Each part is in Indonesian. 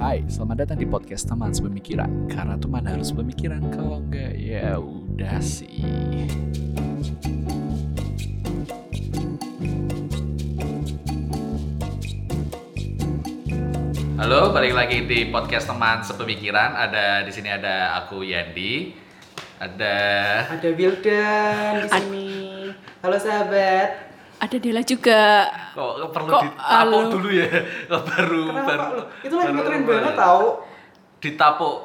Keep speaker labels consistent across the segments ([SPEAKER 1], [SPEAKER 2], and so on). [SPEAKER 1] Hai, selamat datang di podcast teman sepemikiran. Karena teman harus pemikiran, kalau enggak ya udah sih. Halo, balik lagi di podcast teman sepemikiran. Ada di sini ada aku Yandi, ada
[SPEAKER 2] Ada Wildan di sini. Halo sahabat.
[SPEAKER 3] Ada Dela juga.
[SPEAKER 1] kok perlu
[SPEAKER 3] Kok
[SPEAKER 1] ditapuk
[SPEAKER 3] halo?
[SPEAKER 1] dulu ya baru
[SPEAKER 2] Kenapa
[SPEAKER 1] baru
[SPEAKER 2] lu? Itu lagi
[SPEAKER 1] baru-
[SPEAKER 2] muterin
[SPEAKER 1] baru-
[SPEAKER 2] banget tau.
[SPEAKER 1] ditapuk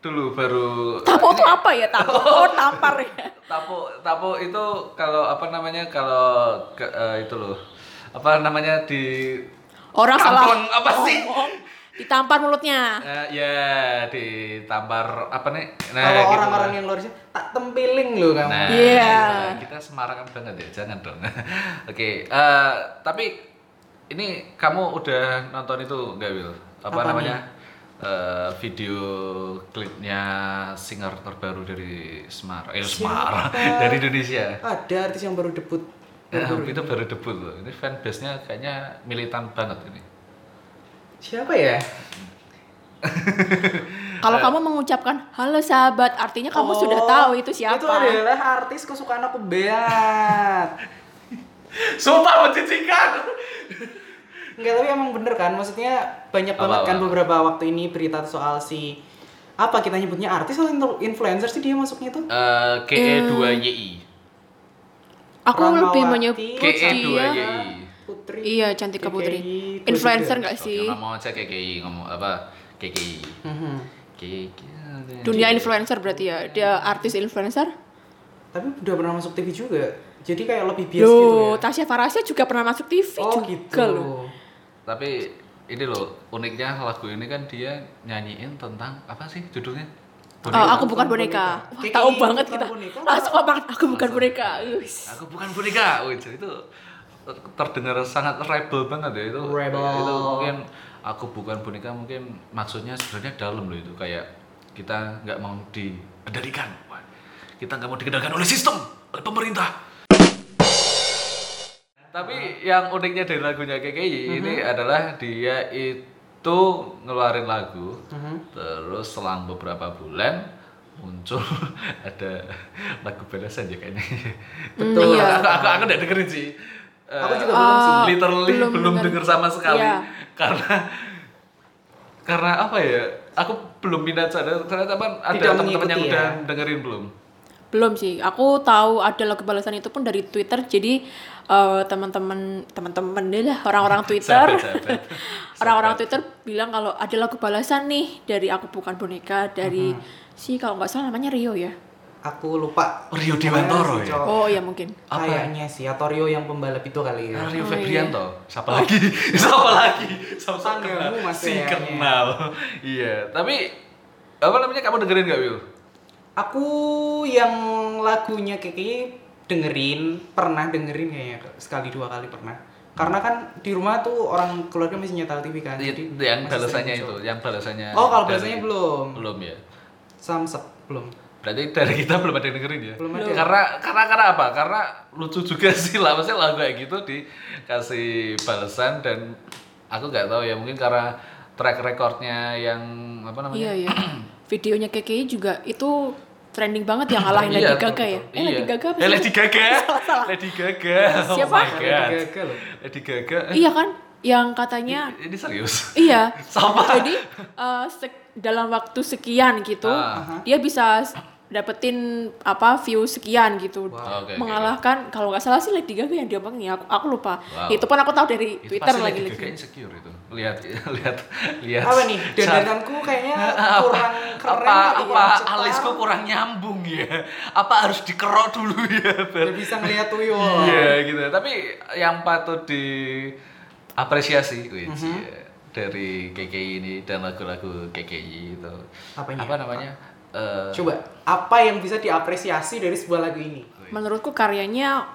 [SPEAKER 1] dulu baru
[SPEAKER 3] Tapok tuh apa ya? Tapok oh, tampar ya.
[SPEAKER 1] tapo tapo itu kalau apa namanya kalau ke- eh, itu loh apa namanya di
[SPEAKER 3] Orang
[SPEAKER 1] Kampleng,
[SPEAKER 2] Oh,
[SPEAKER 3] salah.
[SPEAKER 1] apa sih?
[SPEAKER 3] ngomong, Ditampar mulutnya.
[SPEAKER 1] eh, ya ditampar apa nih nah
[SPEAKER 2] Kalau
[SPEAKER 1] gitu
[SPEAKER 2] orang-orang
[SPEAKER 1] lah.
[SPEAKER 2] yang luar sana tak tempiling loh kamu.
[SPEAKER 1] nah
[SPEAKER 3] Iya.
[SPEAKER 1] gitu lah. kita semarakan banget ya jangan dong oke eh, tapi ini kamu udah nonton itu nggak Wil apa,
[SPEAKER 2] Apanya?
[SPEAKER 1] namanya Eh, video klipnya singer terbaru dari Semarang, eh Semarang
[SPEAKER 2] Siapa?
[SPEAKER 1] dari Indonesia.
[SPEAKER 2] Ada artis yang baru debut.
[SPEAKER 1] Ya, itu baru debut loh. Ini fanbase-nya kayaknya militan banget ini.
[SPEAKER 2] Siapa ya?
[SPEAKER 3] Kalau kamu mengucapkan halo sahabat, artinya kamu
[SPEAKER 2] Eh. Oh,
[SPEAKER 3] sudah tahu itu siapa.
[SPEAKER 2] Itu adalah artis kesukaan aku banget.
[SPEAKER 1] Sumpah menjijikan.
[SPEAKER 2] Enggak, tapi emang bener kan? Maksudnya banyak banget
[SPEAKER 1] Apa,
[SPEAKER 2] kan
[SPEAKER 1] apa?
[SPEAKER 2] beberapa waktu ini berita soal si apa kita nyebutnya artis atau influ- influencer sih dia masuknya tuh?
[SPEAKER 1] Eh
[SPEAKER 3] Ya.
[SPEAKER 1] KE2YI.
[SPEAKER 3] Aku lebih
[SPEAKER 2] Rahmawati. ya.
[SPEAKER 3] menyebut
[SPEAKER 1] Iya,
[SPEAKER 3] dia.
[SPEAKER 1] KE2YI.
[SPEAKER 2] Putri.
[SPEAKER 3] Iya, cantik Putri.
[SPEAKER 2] KKI, dua
[SPEAKER 3] Influencer
[SPEAKER 2] juga.
[SPEAKER 3] nggak
[SPEAKER 1] Oke,
[SPEAKER 3] sih?
[SPEAKER 1] nggak mau cek KKI ngomong apa? KKI.
[SPEAKER 2] Mhm.
[SPEAKER 1] KKI.
[SPEAKER 3] Dunia influencer berarti ya. Dia artis influencer.
[SPEAKER 2] Tapi udah pernah masuk TV juga. Jadi kayak lebih bias gitu
[SPEAKER 3] Loh,
[SPEAKER 2] ya.
[SPEAKER 3] Tasya Farasya juga pernah masuk TV
[SPEAKER 2] Oh
[SPEAKER 3] juga
[SPEAKER 2] gitu.
[SPEAKER 3] loh.
[SPEAKER 1] Tapi ini loh, uniknya lagu ini kan dia nyanyiin tentang apa sih judulnya?
[SPEAKER 3] Eh,
[SPEAKER 1] Boneka.
[SPEAKER 3] aku bukan boneka. Wah,
[SPEAKER 2] Kiki,
[SPEAKER 3] tahu banget
[SPEAKER 2] bukan
[SPEAKER 3] kita.
[SPEAKER 2] boneka.
[SPEAKER 3] Langsung banget aku bukan boneka. Uis.
[SPEAKER 1] Aku bukan boneka. Wih, itu terdengar sangat rebel banget ya itu.
[SPEAKER 2] Rebel.
[SPEAKER 1] Itu mungkin aku bukan boneka mungkin maksudnya sebenarnya dalam loh itu kayak kita nggak mau dikendalikan. Wah, Kita nggak mau dikendalikan oleh sistem, oleh pemerintah. Tapi yang uniknya dari lagunya
[SPEAKER 2] Mhm.
[SPEAKER 1] KKI ini adalah dia itu ngeluarin lagu,
[SPEAKER 2] Mhm.
[SPEAKER 1] terus selang beberapa bulan muncul ada lagu balasan ya kayaknya.
[SPEAKER 2] Mm,
[SPEAKER 1] Aku-
[SPEAKER 2] Betul.
[SPEAKER 1] Aku aku aku udah dengerin sih. Eh,
[SPEAKER 2] iya. Aku juga belum sih.
[SPEAKER 1] Literally belum,
[SPEAKER 3] belum denger.
[SPEAKER 1] denger sama sekali
[SPEAKER 3] Iya.
[SPEAKER 1] karena karena apa ya? Aku belum minat sadar ternyata kan ada
[SPEAKER 2] Tidak
[SPEAKER 1] teman-teman yang
[SPEAKER 2] mengikuti
[SPEAKER 1] udah
[SPEAKER 2] ya.
[SPEAKER 1] dengerin belum.
[SPEAKER 3] Belum sih. Aku tahu ada lagu balasan itu pun dari Twitter. Jadi eh, teman-teman teman-teman deh lah orang-orang Twitter.
[SPEAKER 1] sahabat.
[SPEAKER 3] Orang-orang Twitter bilang kalau ada lagu balasan nih dari aku bukan boneka dari
[SPEAKER 1] Mm-hmm.
[SPEAKER 3] si kalau nggak salah namanya Rio ya.
[SPEAKER 2] Aku lupa.
[SPEAKER 1] Rio Dewantoro
[SPEAKER 2] Namanya si
[SPEAKER 1] ya?
[SPEAKER 2] cowok.
[SPEAKER 3] Oh iya mungkin.
[SPEAKER 1] Apa?
[SPEAKER 2] Kayaknya sih atau Rio yang pembalap itu kali ya.
[SPEAKER 1] Rio
[SPEAKER 3] Oh,
[SPEAKER 1] Febrianto, siapa lagi? siapa lagi? Sama sama
[SPEAKER 2] Tetanggamu
[SPEAKER 1] kenal.
[SPEAKER 2] mas
[SPEAKER 1] si
[SPEAKER 2] kayaknya.
[SPEAKER 1] kenal. Iya, tapi apa namanya kamu dengerin gak Wil?
[SPEAKER 2] Aku yang lagunya Kiki dengerin, pernah dengerin kayaknya sekali dua kali pernah. Karena kan di rumah tuh orang keluarga masih nyetel TV kan. jadi
[SPEAKER 1] Iya, yang
[SPEAKER 2] masih
[SPEAKER 1] balasannya
[SPEAKER 2] sering
[SPEAKER 1] itu,
[SPEAKER 2] muncul.
[SPEAKER 1] yang balasannya.
[SPEAKER 2] Oh, kalau
[SPEAKER 1] dari-
[SPEAKER 2] balasannya belum.
[SPEAKER 1] Belum ya.
[SPEAKER 2] Samsek belum.
[SPEAKER 1] Berarti dari kita belum ada yang dengerin ya?
[SPEAKER 2] Belum ada.
[SPEAKER 1] Karena karena karena apa? Karena lucu juga sih lah maksudnya lagu kayak gitu dikasih balasan dan aku nggak tahu ya mungkin karena track recordnya yang apa namanya?
[SPEAKER 3] Iya iya. Videonya KKI juga itu trending banget yang ngalahin Lady
[SPEAKER 1] Iya,
[SPEAKER 3] Gaga ya.
[SPEAKER 1] betul-betul.
[SPEAKER 3] Eh Lady
[SPEAKER 1] Iya.
[SPEAKER 3] Gaga
[SPEAKER 1] Eh
[SPEAKER 3] apa sih?
[SPEAKER 1] Lady Gaga.
[SPEAKER 3] Salah-salah.
[SPEAKER 1] Lady Gaga. Oh
[SPEAKER 3] Siapa?
[SPEAKER 1] my God.
[SPEAKER 2] Lady Gaga loh.
[SPEAKER 1] Lady Gaga. Eh,
[SPEAKER 3] Iya kan? Yang katanya
[SPEAKER 1] Ini serius.
[SPEAKER 3] Iya.
[SPEAKER 1] Sama.
[SPEAKER 3] Jadi eh, sek- dalam waktu sekian gitu,
[SPEAKER 1] Ah.
[SPEAKER 3] dia bisa s- dapetin apa view sekian gitu.
[SPEAKER 1] Wow. Oh, Oke, oke,
[SPEAKER 3] Mengalahkan kalau nggak salah sih Lady Gaga yang dia ya. Aku, aku lupa.
[SPEAKER 1] Wow.
[SPEAKER 3] Itu pun aku tahu dari
[SPEAKER 1] Itu
[SPEAKER 3] Twitter
[SPEAKER 1] pasti
[SPEAKER 3] lagi
[SPEAKER 1] Lady
[SPEAKER 3] lagi.
[SPEAKER 1] Gaga ya. insecure itu. Lihat lihat lihat.
[SPEAKER 2] Apa nih?
[SPEAKER 1] Saat-
[SPEAKER 2] Dandananku kayaknya kurang keren.
[SPEAKER 3] ya,
[SPEAKER 1] apa
[SPEAKER 2] kali,
[SPEAKER 1] apa
[SPEAKER 2] kurang cetar.
[SPEAKER 1] alisku kurang nyambung ya apa harus dikerok dulu ya
[SPEAKER 2] Udah
[SPEAKER 1] Bar?
[SPEAKER 2] bisa ngeliat tuyul.
[SPEAKER 1] iya gitu tapi yang patut diapresiasi
[SPEAKER 3] Mhm.
[SPEAKER 1] wih, ya, dari KKI ini dan lagu-lagu KKI itu
[SPEAKER 2] Apanya?
[SPEAKER 1] apa namanya Eh,
[SPEAKER 2] Coba, apa yang bisa diapresiasi dari sebuah lagu ini?
[SPEAKER 3] Menurutku karyanya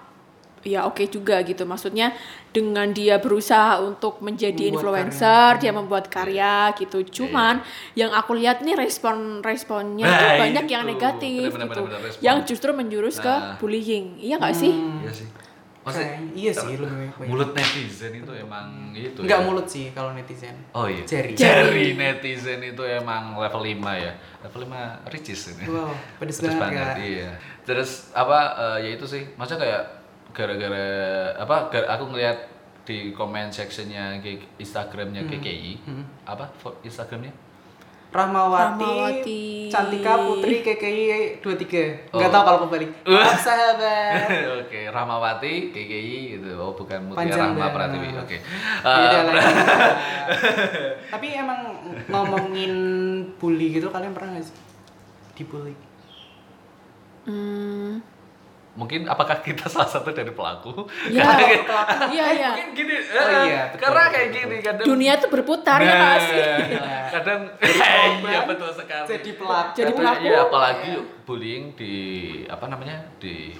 [SPEAKER 3] ya oke juga gitu. Maksudnya dengan dia berusaha untuk menjadi
[SPEAKER 2] Membuat
[SPEAKER 1] Hmm.
[SPEAKER 3] influencer, dia membuat
[SPEAKER 1] Iya.
[SPEAKER 3] karya gitu. Cuman yang aku lihat nih respon-responnya
[SPEAKER 1] Nah,
[SPEAKER 3] itu banyak yang
[SPEAKER 1] itu.
[SPEAKER 3] negatif
[SPEAKER 1] Benar-benar,
[SPEAKER 3] gitu.
[SPEAKER 1] benar-benar respon.
[SPEAKER 3] Yang justru menjurus
[SPEAKER 1] Nah.
[SPEAKER 3] ke bullying. Iya nggak sih?
[SPEAKER 1] iya sih Maksudnya-
[SPEAKER 2] Kayak- iya sih lebih banyak banyak.
[SPEAKER 1] mulut netizen itu emang itu
[SPEAKER 2] Enggak
[SPEAKER 1] ya?
[SPEAKER 2] mulut sih kalau netizen.
[SPEAKER 1] oh iya
[SPEAKER 2] Jari.
[SPEAKER 1] Jari netizen itu emang level 5 ya level 5 ricis ini
[SPEAKER 2] Wow, pedes
[SPEAKER 1] Pedes
[SPEAKER 2] banget, Kak.
[SPEAKER 1] iya terus apa eh, ya itu sih maksudnya kayak gara-gara apa gara- aku ngeliat di comment sectionnya K- Instagramnya
[SPEAKER 2] Hmm.
[SPEAKER 1] KKI apa fo- Instagramnya
[SPEAKER 2] Rahmawati,
[SPEAKER 3] Rahmawati.
[SPEAKER 2] Cantika Putri KKI 23. Enggak
[SPEAKER 1] Oh.
[SPEAKER 2] tahu kalau kembali. Maaf sahabat.
[SPEAKER 1] oke Rahmawati KKI gitu oh bukan Mutia
[SPEAKER 2] Eh. Panjang
[SPEAKER 1] Rahma
[SPEAKER 2] banget.
[SPEAKER 1] Pratiwi oke
[SPEAKER 2] Beda
[SPEAKER 1] Eh,
[SPEAKER 2] lagi. Tapi emang ngomongin bully gitu kalian pernah nggak sih dibully?
[SPEAKER 3] Hmm,
[SPEAKER 1] mungkin apakah kita salah satu dari pelaku
[SPEAKER 3] ya, iya, iya.
[SPEAKER 1] mungkin gini
[SPEAKER 2] Oh
[SPEAKER 1] eh,
[SPEAKER 2] iya, betul,
[SPEAKER 1] karena
[SPEAKER 2] betul,
[SPEAKER 1] kayak
[SPEAKER 2] betul.
[SPEAKER 1] gini kadang
[SPEAKER 3] Dunia tuh berputar ya
[SPEAKER 1] Nah,
[SPEAKER 3] nggak sih.
[SPEAKER 1] kadang iya betul sekali
[SPEAKER 2] Jadi pelaku.
[SPEAKER 3] Jadi
[SPEAKER 1] Betul,
[SPEAKER 3] pelaku.
[SPEAKER 1] iya, apalagi bullying di apa namanya di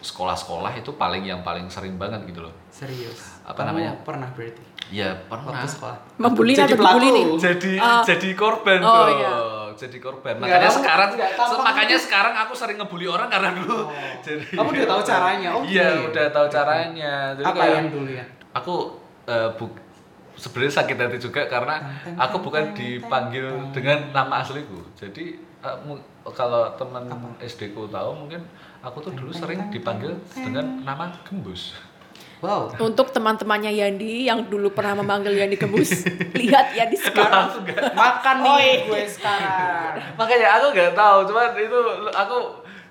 [SPEAKER 1] sekolah-sekolah itu paling yang paling sering banget gitu loh
[SPEAKER 2] Serius.
[SPEAKER 1] Apa
[SPEAKER 2] Kamu
[SPEAKER 1] namanya?
[SPEAKER 2] Pernah berarti
[SPEAKER 1] ya pernah
[SPEAKER 2] waktu sekolah.
[SPEAKER 3] Membuli
[SPEAKER 2] Jadi
[SPEAKER 3] atau dibully
[SPEAKER 2] pelaku.
[SPEAKER 3] nih?
[SPEAKER 1] Oh. jadi
[SPEAKER 3] Ah.
[SPEAKER 1] jadi korban
[SPEAKER 3] Oh,
[SPEAKER 1] dong
[SPEAKER 3] iya.
[SPEAKER 1] jadi korban
[SPEAKER 2] Nggak,
[SPEAKER 1] makanya
[SPEAKER 2] kamu
[SPEAKER 1] sekarang
[SPEAKER 2] nggak tampang
[SPEAKER 1] se- makanya sekarang aku sering ngebully orang karena dulu
[SPEAKER 2] Oh.
[SPEAKER 1] jadi
[SPEAKER 2] Kamu udah tahu caranya, oke.
[SPEAKER 1] iya udah tahu caranya jadi
[SPEAKER 2] Apa
[SPEAKER 1] kayak-
[SPEAKER 2] yang dulu ya?
[SPEAKER 1] aku eh, bu- sebenarnya sakit hati juga karena aku bukan dipanggil dengan nama asliku jadi eh, mu- kalau teman SD ku tahu mungkin aku tuh dulu sering dipanggil dengan nama gembus
[SPEAKER 2] Wow.
[SPEAKER 3] Untuk teman-temannya Yandi yang dulu pernah memanggil Yandi Gembus, lihat Yandi sekarang.
[SPEAKER 1] Langsung nggak-
[SPEAKER 2] Makan nih gue sekarang.
[SPEAKER 1] makanya aku nggak tahu cuman itu aku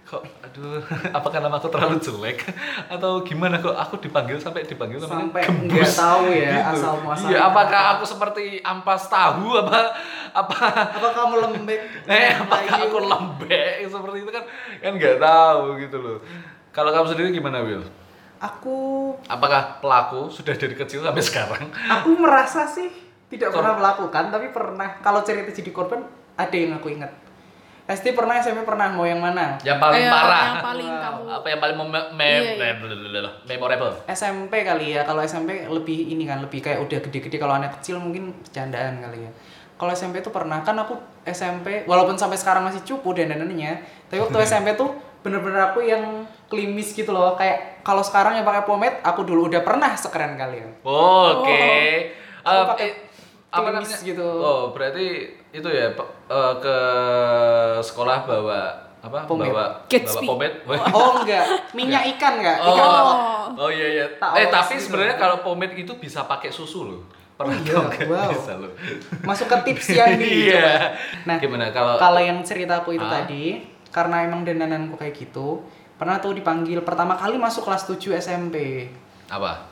[SPEAKER 1] kok aduh apakah nama aku terlalu jelek atau gimana kok aku dipanggil sampai dipanggil namanya
[SPEAKER 2] Sampai
[SPEAKER 1] gembus
[SPEAKER 2] nggak tahu ya
[SPEAKER 1] Gitu.
[SPEAKER 2] asal muasal.
[SPEAKER 1] iya apakah aku seperti ampas tahu apa apa
[SPEAKER 2] apa kamu lembek?
[SPEAKER 1] eh apakah
[SPEAKER 2] Melayu?
[SPEAKER 1] aku lembek seperti itu kan kan nggak tahu gitu loh kalau kamu sendiri gimana Will
[SPEAKER 2] Aku
[SPEAKER 1] apakah pelaku sudah dari kecil sampai sekarang
[SPEAKER 2] aku merasa sih tidak
[SPEAKER 1] Kor-
[SPEAKER 2] pernah melakukan tapi pernah kalau cerita jadi korban ada yang aku ingat SD pernah SMP pernah mau yang mana
[SPEAKER 1] yang paling
[SPEAKER 3] Kayak
[SPEAKER 1] parah
[SPEAKER 3] Iya, Yang paling kamu.
[SPEAKER 1] apa yang paling mem-
[SPEAKER 3] Iya, iya.
[SPEAKER 1] mem- memorable
[SPEAKER 2] SMP kali ya kalau SMP lebih ini kan lebih kayak udah gede-gede kalau anak kecil mungkin bercandaan kali ya kalau SMP tuh pernah kan aku SMP walaupun sampai sekarang masih cupu dan danannya tapi waktu SMP tuh bener-bener aku yang klimis gitu loh kayak kalau sekarang yang pakai pomade aku dulu udah pernah sekeren ya. kalian
[SPEAKER 3] Oh,
[SPEAKER 1] oke Eh,
[SPEAKER 2] pakai
[SPEAKER 1] eh, apa
[SPEAKER 2] klimis
[SPEAKER 1] namanya
[SPEAKER 2] gitu.
[SPEAKER 1] oh berarti itu ya pe- eh, ke sekolah bawa apa
[SPEAKER 2] Pomade.
[SPEAKER 1] bawa
[SPEAKER 3] Gatsby.
[SPEAKER 1] bawa pomade
[SPEAKER 2] oh enggak minyak ikan enggak
[SPEAKER 1] Oh,
[SPEAKER 2] ikan
[SPEAKER 1] oh,
[SPEAKER 2] bawal.
[SPEAKER 1] iya iya.
[SPEAKER 2] Tak
[SPEAKER 1] eh
[SPEAKER 2] oles
[SPEAKER 1] tapi
[SPEAKER 2] gitu.
[SPEAKER 1] sebenarnya kalau pomade itu bisa pakai susu loh. Pernah
[SPEAKER 2] Oh, iya,
[SPEAKER 1] tau nggak?
[SPEAKER 2] wow.
[SPEAKER 1] Bisa loh.
[SPEAKER 2] masuk ke tips yang di
[SPEAKER 1] Iya.
[SPEAKER 2] Nah,
[SPEAKER 1] Gimana kalau
[SPEAKER 2] kalau yang cerita aku itu
[SPEAKER 1] Ah.
[SPEAKER 2] tadi karena emang dandananku kayak gitu pernah tuh dipanggil pertama kali masuk kelas 7 SMP
[SPEAKER 1] apa?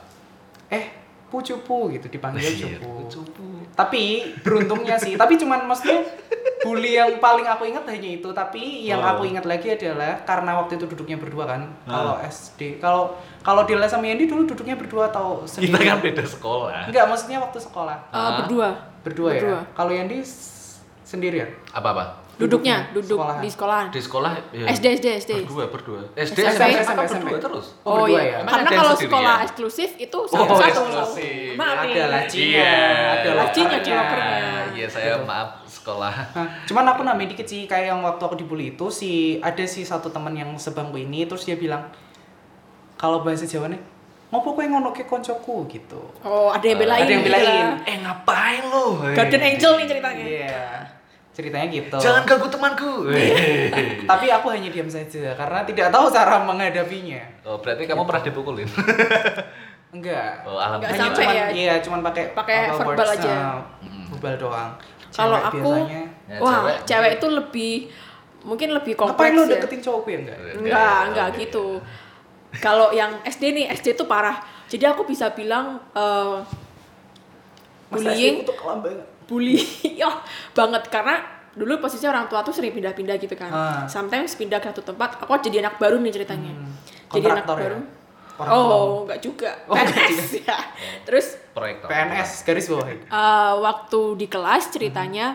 [SPEAKER 2] eh pu cupu gitu dipanggil
[SPEAKER 1] Iya,
[SPEAKER 2] cupu
[SPEAKER 1] cupu.
[SPEAKER 2] tapi beruntungnya sih tapi cuman maksudnya bully yang paling aku ingat hanya itu tapi yang
[SPEAKER 1] Oh.
[SPEAKER 2] aku ingat lagi adalah karena waktu itu duduknya berdua kan
[SPEAKER 1] Ah.
[SPEAKER 2] kalau SD kalau kalau Dila sama Yandi dulu duduknya berdua atau
[SPEAKER 1] Kita
[SPEAKER 2] sendiri
[SPEAKER 1] kan beda sekolah.
[SPEAKER 2] enggak maksudnya waktu sekolah
[SPEAKER 3] Eh, berdua.
[SPEAKER 2] berdua,
[SPEAKER 3] Berdua.
[SPEAKER 2] ya kalau Yandi s- sendiri ya
[SPEAKER 1] Apa apa?
[SPEAKER 3] Duduknya, duduk
[SPEAKER 2] Sekolahan.
[SPEAKER 3] di sekolahan. Eh,
[SPEAKER 1] Di sekolah ya,
[SPEAKER 3] SD, SD, SD.
[SPEAKER 1] Berdua, berdua. SD,
[SPEAKER 3] SMP,
[SPEAKER 1] SMP,
[SPEAKER 2] SMP.
[SPEAKER 1] berdua terus.
[SPEAKER 2] Oh,
[SPEAKER 3] Oh,
[SPEAKER 2] berdua ya?
[SPEAKER 3] iya,
[SPEAKER 1] Emang ada
[SPEAKER 3] karena
[SPEAKER 1] yang
[SPEAKER 3] kalau
[SPEAKER 1] sendirian?
[SPEAKER 3] sekolah eksklusif itu
[SPEAKER 1] Oh,
[SPEAKER 3] satu-satu.
[SPEAKER 1] eksklusif.
[SPEAKER 3] Maaf nih.
[SPEAKER 2] ada lacinya,
[SPEAKER 1] Iya.
[SPEAKER 2] ada
[SPEAKER 3] Lacinya di
[SPEAKER 2] lacinya.
[SPEAKER 3] lokernya.
[SPEAKER 1] Iya, saya maaf sekolah.
[SPEAKER 2] Nah, cuman aku namanya dikit sih kayak yang waktu aku dibully itu si ada si satu teman yang sebangku ini terus dia bilang kalau bahasa Jawanya ngopo kowe ngono ke koncoku gitu.
[SPEAKER 3] Oh, ada yang belain.
[SPEAKER 2] ada yang belain.
[SPEAKER 1] Eh, ngapain lo?
[SPEAKER 3] Garden Angel nih ceritanya.
[SPEAKER 2] Iya. Ceritanya gitu.
[SPEAKER 1] Jangan ganggu temanku. Hei.
[SPEAKER 2] Tapi aku hanya diam saja karena tidak tahu cara menghadapinya.
[SPEAKER 1] Oh, berarti kamu pernah dipukulin?
[SPEAKER 2] Enggak.
[SPEAKER 1] Oh, alhamdulillah.
[SPEAKER 3] Nggak
[SPEAKER 2] Hanya
[SPEAKER 3] sampai
[SPEAKER 2] cuman,
[SPEAKER 3] ya?
[SPEAKER 2] Iya, cuman pakai
[SPEAKER 3] Pakai
[SPEAKER 2] apa,
[SPEAKER 3] verbal
[SPEAKER 2] words,
[SPEAKER 3] aja.
[SPEAKER 2] uh, verbal doang.
[SPEAKER 3] Kalau
[SPEAKER 2] Cewek
[SPEAKER 3] aku,
[SPEAKER 2] biasanya,
[SPEAKER 1] Ya,
[SPEAKER 3] wah,
[SPEAKER 1] cewek.
[SPEAKER 3] cewek, itu lebih mungkin lebih kompleks
[SPEAKER 2] ngapain lu
[SPEAKER 3] ya.
[SPEAKER 2] deketin cowokku ya
[SPEAKER 1] Iya.
[SPEAKER 2] enggak?
[SPEAKER 3] Enggak,
[SPEAKER 1] Oke.
[SPEAKER 3] enggak gitu. Kalau yang SD nih, SD itu parah. Jadi aku bisa bilang eh,
[SPEAKER 2] Masa
[SPEAKER 3] bullying,
[SPEAKER 2] sih, aku tuh kelam banget.
[SPEAKER 3] bully ya banget karena dulu posisinya orang tua tuh sering pindah-pindah gitu kan.
[SPEAKER 2] Ah.
[SPEAKER 3] Sometimes pindah ke satu tempat, aku jadi anak baru nih ceritanya. Jadi anak
[SPEAKER 2] Kontraktor ya?
[SPEAKER 3] baru.
[SPEAKER 2] Orang
[SPEAKER 3] oh, enggak juga.
[SPEAKER 2] Oh, enggak
[SPEAKER 3] PNS ya. Terus
[SPEAKER 1] Proyektor.
[SPEAKER 2] PNS garis bawah. ya?
[SPEAKER 3] eh, waktu di kelas ceritanya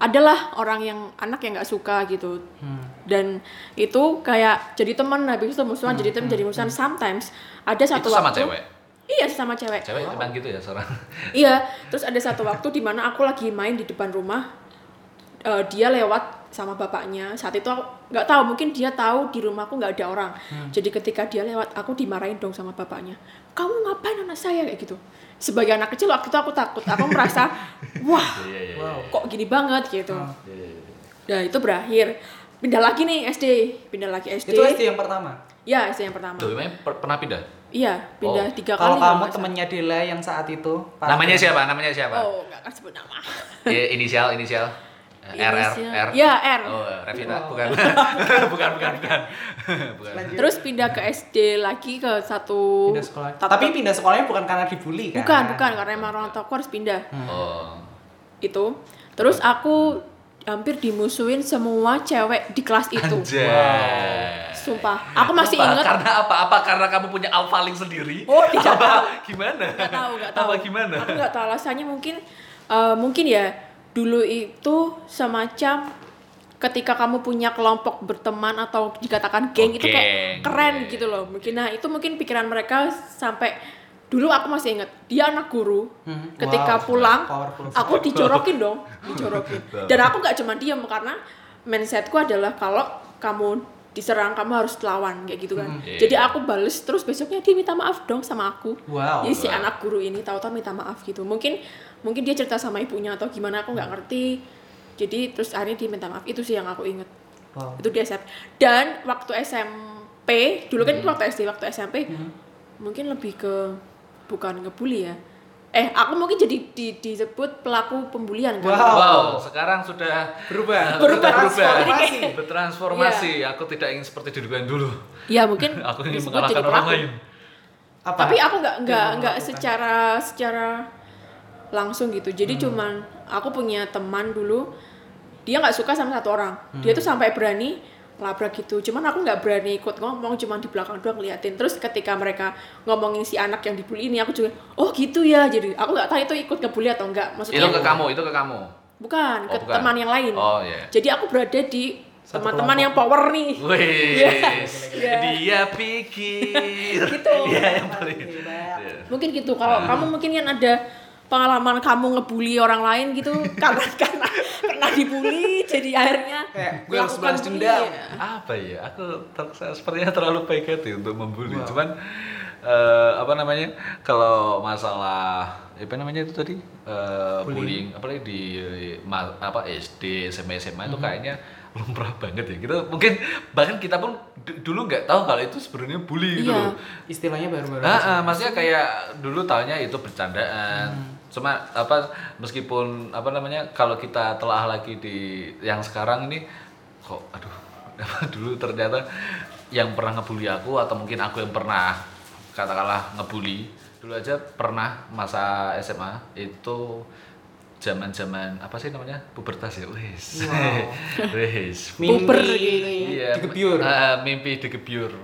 [SPEAKER 3] adalah orang yang anak yang nggak suka gitu
[SPEAKER 2] Hmm.
[SPEAKER 3] dan itu kayak jadi teman habis itu musuhan jadi teman jadi musuhan sometimes ada satu
[SPEAKER 1] Hmm, itu sama
[SPEAKER 3] waktu
[SPEAKER 1] cewek.
[SPEAKER 3] iya sama cewek
[SPEAKER 1] Cewek emang gitu ya seorang.
[SPEAKER 3] iya terus ada satu waktu di mana aku lagi main di depan rumah eh, dia lewat sama bapaknya saat itu aku nggak tahu mungkin dia tahu di rumahku nggak ada orang
[SPEAKER 1] Hmm.
[SPEAKER 3] jadi ketika dia lewat aku dimarahin dong sama bapaknya kamu ngapain anak saya kayak gitu sebagai anak kecil waktu itu aku takut aku merasa wah
[SPEAKER 1] Iya, iya,
[SPEAKER 2] Wow.
[SPEAKER 3] kok gini banget gitu
[SPEAKER 1] iya, iya, iya.
[SPEAKER 3] nah itu berakhir pindah lagi nih SD pindah lagi SD
[SPEAKER 2] Itu SD yang pertama.
[SPEAKER 3] ya SD yang pertama
[SPEAKER 1] Tuh, emang per- pernah pindah?
[SPEAKER 3] iya
[SPEAKER 1] Oh.
[SPEAKER 3] pindah tiga
[SPEAKER 2] Kalau kamu
[SPEAKER 3] kali nggak salah.
[SPEAKER 2] temennya Dela yang saat itu Pak-
[SPEAKER 1] Namanya siapa? Namanya siapa?
[SPEAKER 3] oh nggak akan sebut nama
[SPEAKER 1] Ya, inisial, inisial. Eh, R, R,
[SPEAKER 3] Inisial.
[SPEAKER 1] R.
[SPEAKER 3] Ya, R.
[SPEAKER 1] Oh, Revita, bukan. bukan, bukan, bukan. bukan.
[SPEAKER 3] terus pindah ke SD lagi ke satu
[SPEAKER 2] pindah sekolah.
[SPEAKER 3] tat-
[SPEAKER 2] Tapi pindah sekolahnya bukan karena dibully kan?
[SPEAKER 3] bukan bukan karena emang orang tua aku harus pindah
[SPEAKER 1] Oh,
[SPEAKER 3] itu terus aku hampir dimusuhin semua cewek di kelas itu
[SPEAKER 1] anjay.
[SPEAKER 3] sumpah aku masih
[SPEAKER 1] Nah, Apa?
[SPEAKER 3] ingat
[SPEAKER 1] Karena apa? Apa karena kamu punya alfaling sendiri?
[SPEAKER 3] Oh, tidak
[SPEAKER 1] Apa gimana?
[SPEAKER 3] nggak tahu nggak tahu
[SPEAKER 1] Apa gimana?
[SPEAKER 3] aku nggak tahu alasannya mungkin eh, mungkin ya dulu itu semacam ketika kamu punya kelompok berteman atau dikatakan geng itu kayak
[SPEAKER 1] Oh, Geng,
[SPEAKER 3] keren
[SPEAKER 1] iya.
[SPEAKER 3] gitu loh mungkin nah itu mungkin pikiran mereka sampai dulu aku masih inget dia anak guru
[SPEAKER 2] Hmm,
[SPEAKER 3] ketika
[SPEAKER 2] wow,
[SPEAKER 3] pulang
[SPEAKER 2] powerful.
[SPEAKER 3] aku dicorokin dong dicorokin dan aku nggak cuma diam karena mindsetku adalah kalau kamu diserang kamu harus lawan kayak gitu kan
[SPEAKER 1] Hmm.
[SPEAKER 3] jadi aku bales terus besoknya dia minta maaf dong sama aku
[SPEAKER 2] Wow.
[SPEAKER 3] jadi si Iya
[SPEAKER 1] Iya.
[SPEAKER 3] anak guru ini tahu-tahu minta maaf gitu. Mungkin mungkin dia cerita sama ibunya atau gimana aku nggak ngerti. Jadi terus akhirnya dia minta maaf. Itu sih yang aku inget.
[SPEAKER 2] Wow.
[SPEAKER 3] Itu dia SMP. Dan waktu SMP, dulu kan itu
[SPEAKER 1] Hmm.
[SPEAKER 3] waktu SD, waktu SMP mungkin lebih ke bukan ngebully ya. Eh, aku mungkin jadi di- disebut pelaku pembulian kan.
[SPEAKER 2] Wow.
[SPEAKER 1] Wow, sekarang sudah
[SPEAKER 2] Berubah.
[SPEAKER 3] Berubah. Iya.
[SPEAKER 2] Transformasi.
[SPEAKER 1] bertransformasi. Aku tidak ingin seperti diriku yang dulu.
[SPEAKER 3] Ya mungkin
[SPEAKER 1] Aku ingin
[SPEAKER 3] disebut
[SPEAKER 1] mengalahkan
[SPEAKER 3] jadi
[SPEAKER 1] orang
[SPEAKER 3] pelaku.
[SPEAKER 1] lain.
[SPEAKER 2] Apa?
[SPEAKER 3] tapi aku nggak
[SPEAKER 1] Iya,
[SPEAKER 3] nggak
[SPEAKER 2] Yang
[SPEAKER 3] nggak
[SPEAKER 2] melakukan.
[SPEAKER 3] secara secara langsung gitu jadi
[SPEAKER 1] Hmm.
[SPEAKER 3] cuman aku punya teman dulu dia nggak suka sama satu orang
[SPEAKER 1] Hmm.
[SPEAKER 3] dia tuh sampai berani labrak gitu cuman aku nggak berani ikut ngomong cuman di belakang doang ngeliatin terus ketika mereka ngomongin si anak yang dibully ini aku juga oh gitu ya jadi aku nggak tahu itu ikut ngebully atau enggak
[SPEAKER 1] Itu
[SPEAKER 3] maksudnya
[SPEAKER 1] ke kamu, itu ke kamu.
[SPEAKER 3] bukan
[SPEAKER 1] Oh,
[SPEAKER 3] ke
[SPEAKER 1] bukan.
[SPEAKER 3] teman yang lain
[SPEAKER 1] Oh, iya.
[SPEAKER 3] jadi aku berada di
[SPEAKER 2] Satu
[SPEAKER 3] teman-teman
[SPEAKER 2] kelompok.
[SPEAKER 3] yang power nih
[SPEAKER 1] Wih,
[SPEAKER 3] Iya.
[SPEAKER 1] dia pikir.
[SPEAKER 3] Gitu.
[SPEAKER 1] Iya, yang paling. Iya.
[SPEAKER 3] mungkin gitu
[SPEAKER 2] Hmm.
[SPEAKER 3] kalau kamu mungkin yang ada pengalaman kamu ngebully orang lain gitu karena karena karena dibully jadi akhirnya
[SPEAKER 2] Kayak, "Gue harus
[SPEAKER 3] melakukan
[SPEAKER 2] balas dendam."
[SPEAKER 3] bully, ya.
[SPEAKER 1] Apa ya? Aku ter- sepertinya terlalu baik hati untuk membuli. Cuman eh, apa namanya? Kalau masalah apa namanya itu tadi? Eh, bullying. apalagi di ma- apa SD, SMA, SMA itu kayaknya lumrah banget ya. Kita mungkin bahkan kita pun d- dulu nggak tahu kalau itu sebenarnya bully gitu
[SPEAKER 3] Iya.
[SPEAKER 1] loh.
[SPEAKER 2] Istilahnya baru-baru.
[SPEAKER 1] Nah, eh, maksudnya kayak dulu taunya itu bercandaan. Cuma apa meskipun apa namanya kalau kita telah lagi di yang sekarang ini kok aduh apa dulu ternyata yang pernah ngebully aku atau mungkin aku yang pernah katakanlah ngebully dulu aja pernah masa SMA itu zaman-zaman apa sih namanya pubertas ya wis wis
[SPEAKER 3] Puber gitu ya.
[SPEAKER 1] Iya,
[SPEAKER 2] Digebyur.
[SPEAKER 1] eh, mimpi digebyur.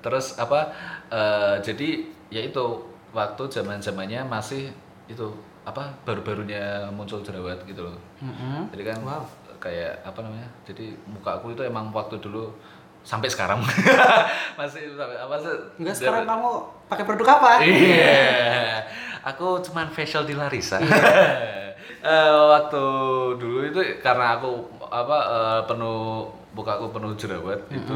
[SPEAKER 1] Terus apa? eh, jadi ya itu waktu zaman zamannya masih itu apa baru-barunya muncul jerawat gitu loh.
[SPEAKER 2] Mm-mm.
[SPEAKER 1] Jadi kan
[SPEAKER 2] Wow.
[SPEAKER 1] kayak apa namanya? Jadi muka aku itu emang waktu dulu sampai sekarang masih sampai apa sih?
[SPEAKER 2] Enggak sekarang kamu pakai produk apa?
[SPEAKER 1] Iya, aku cuman facial di Larissa.
[SPEAKER 2] Iya.
[SPEAKER 1] Eh, waktu dulu itu karena aku apa eh, penuh bukaku penuh jerawat itu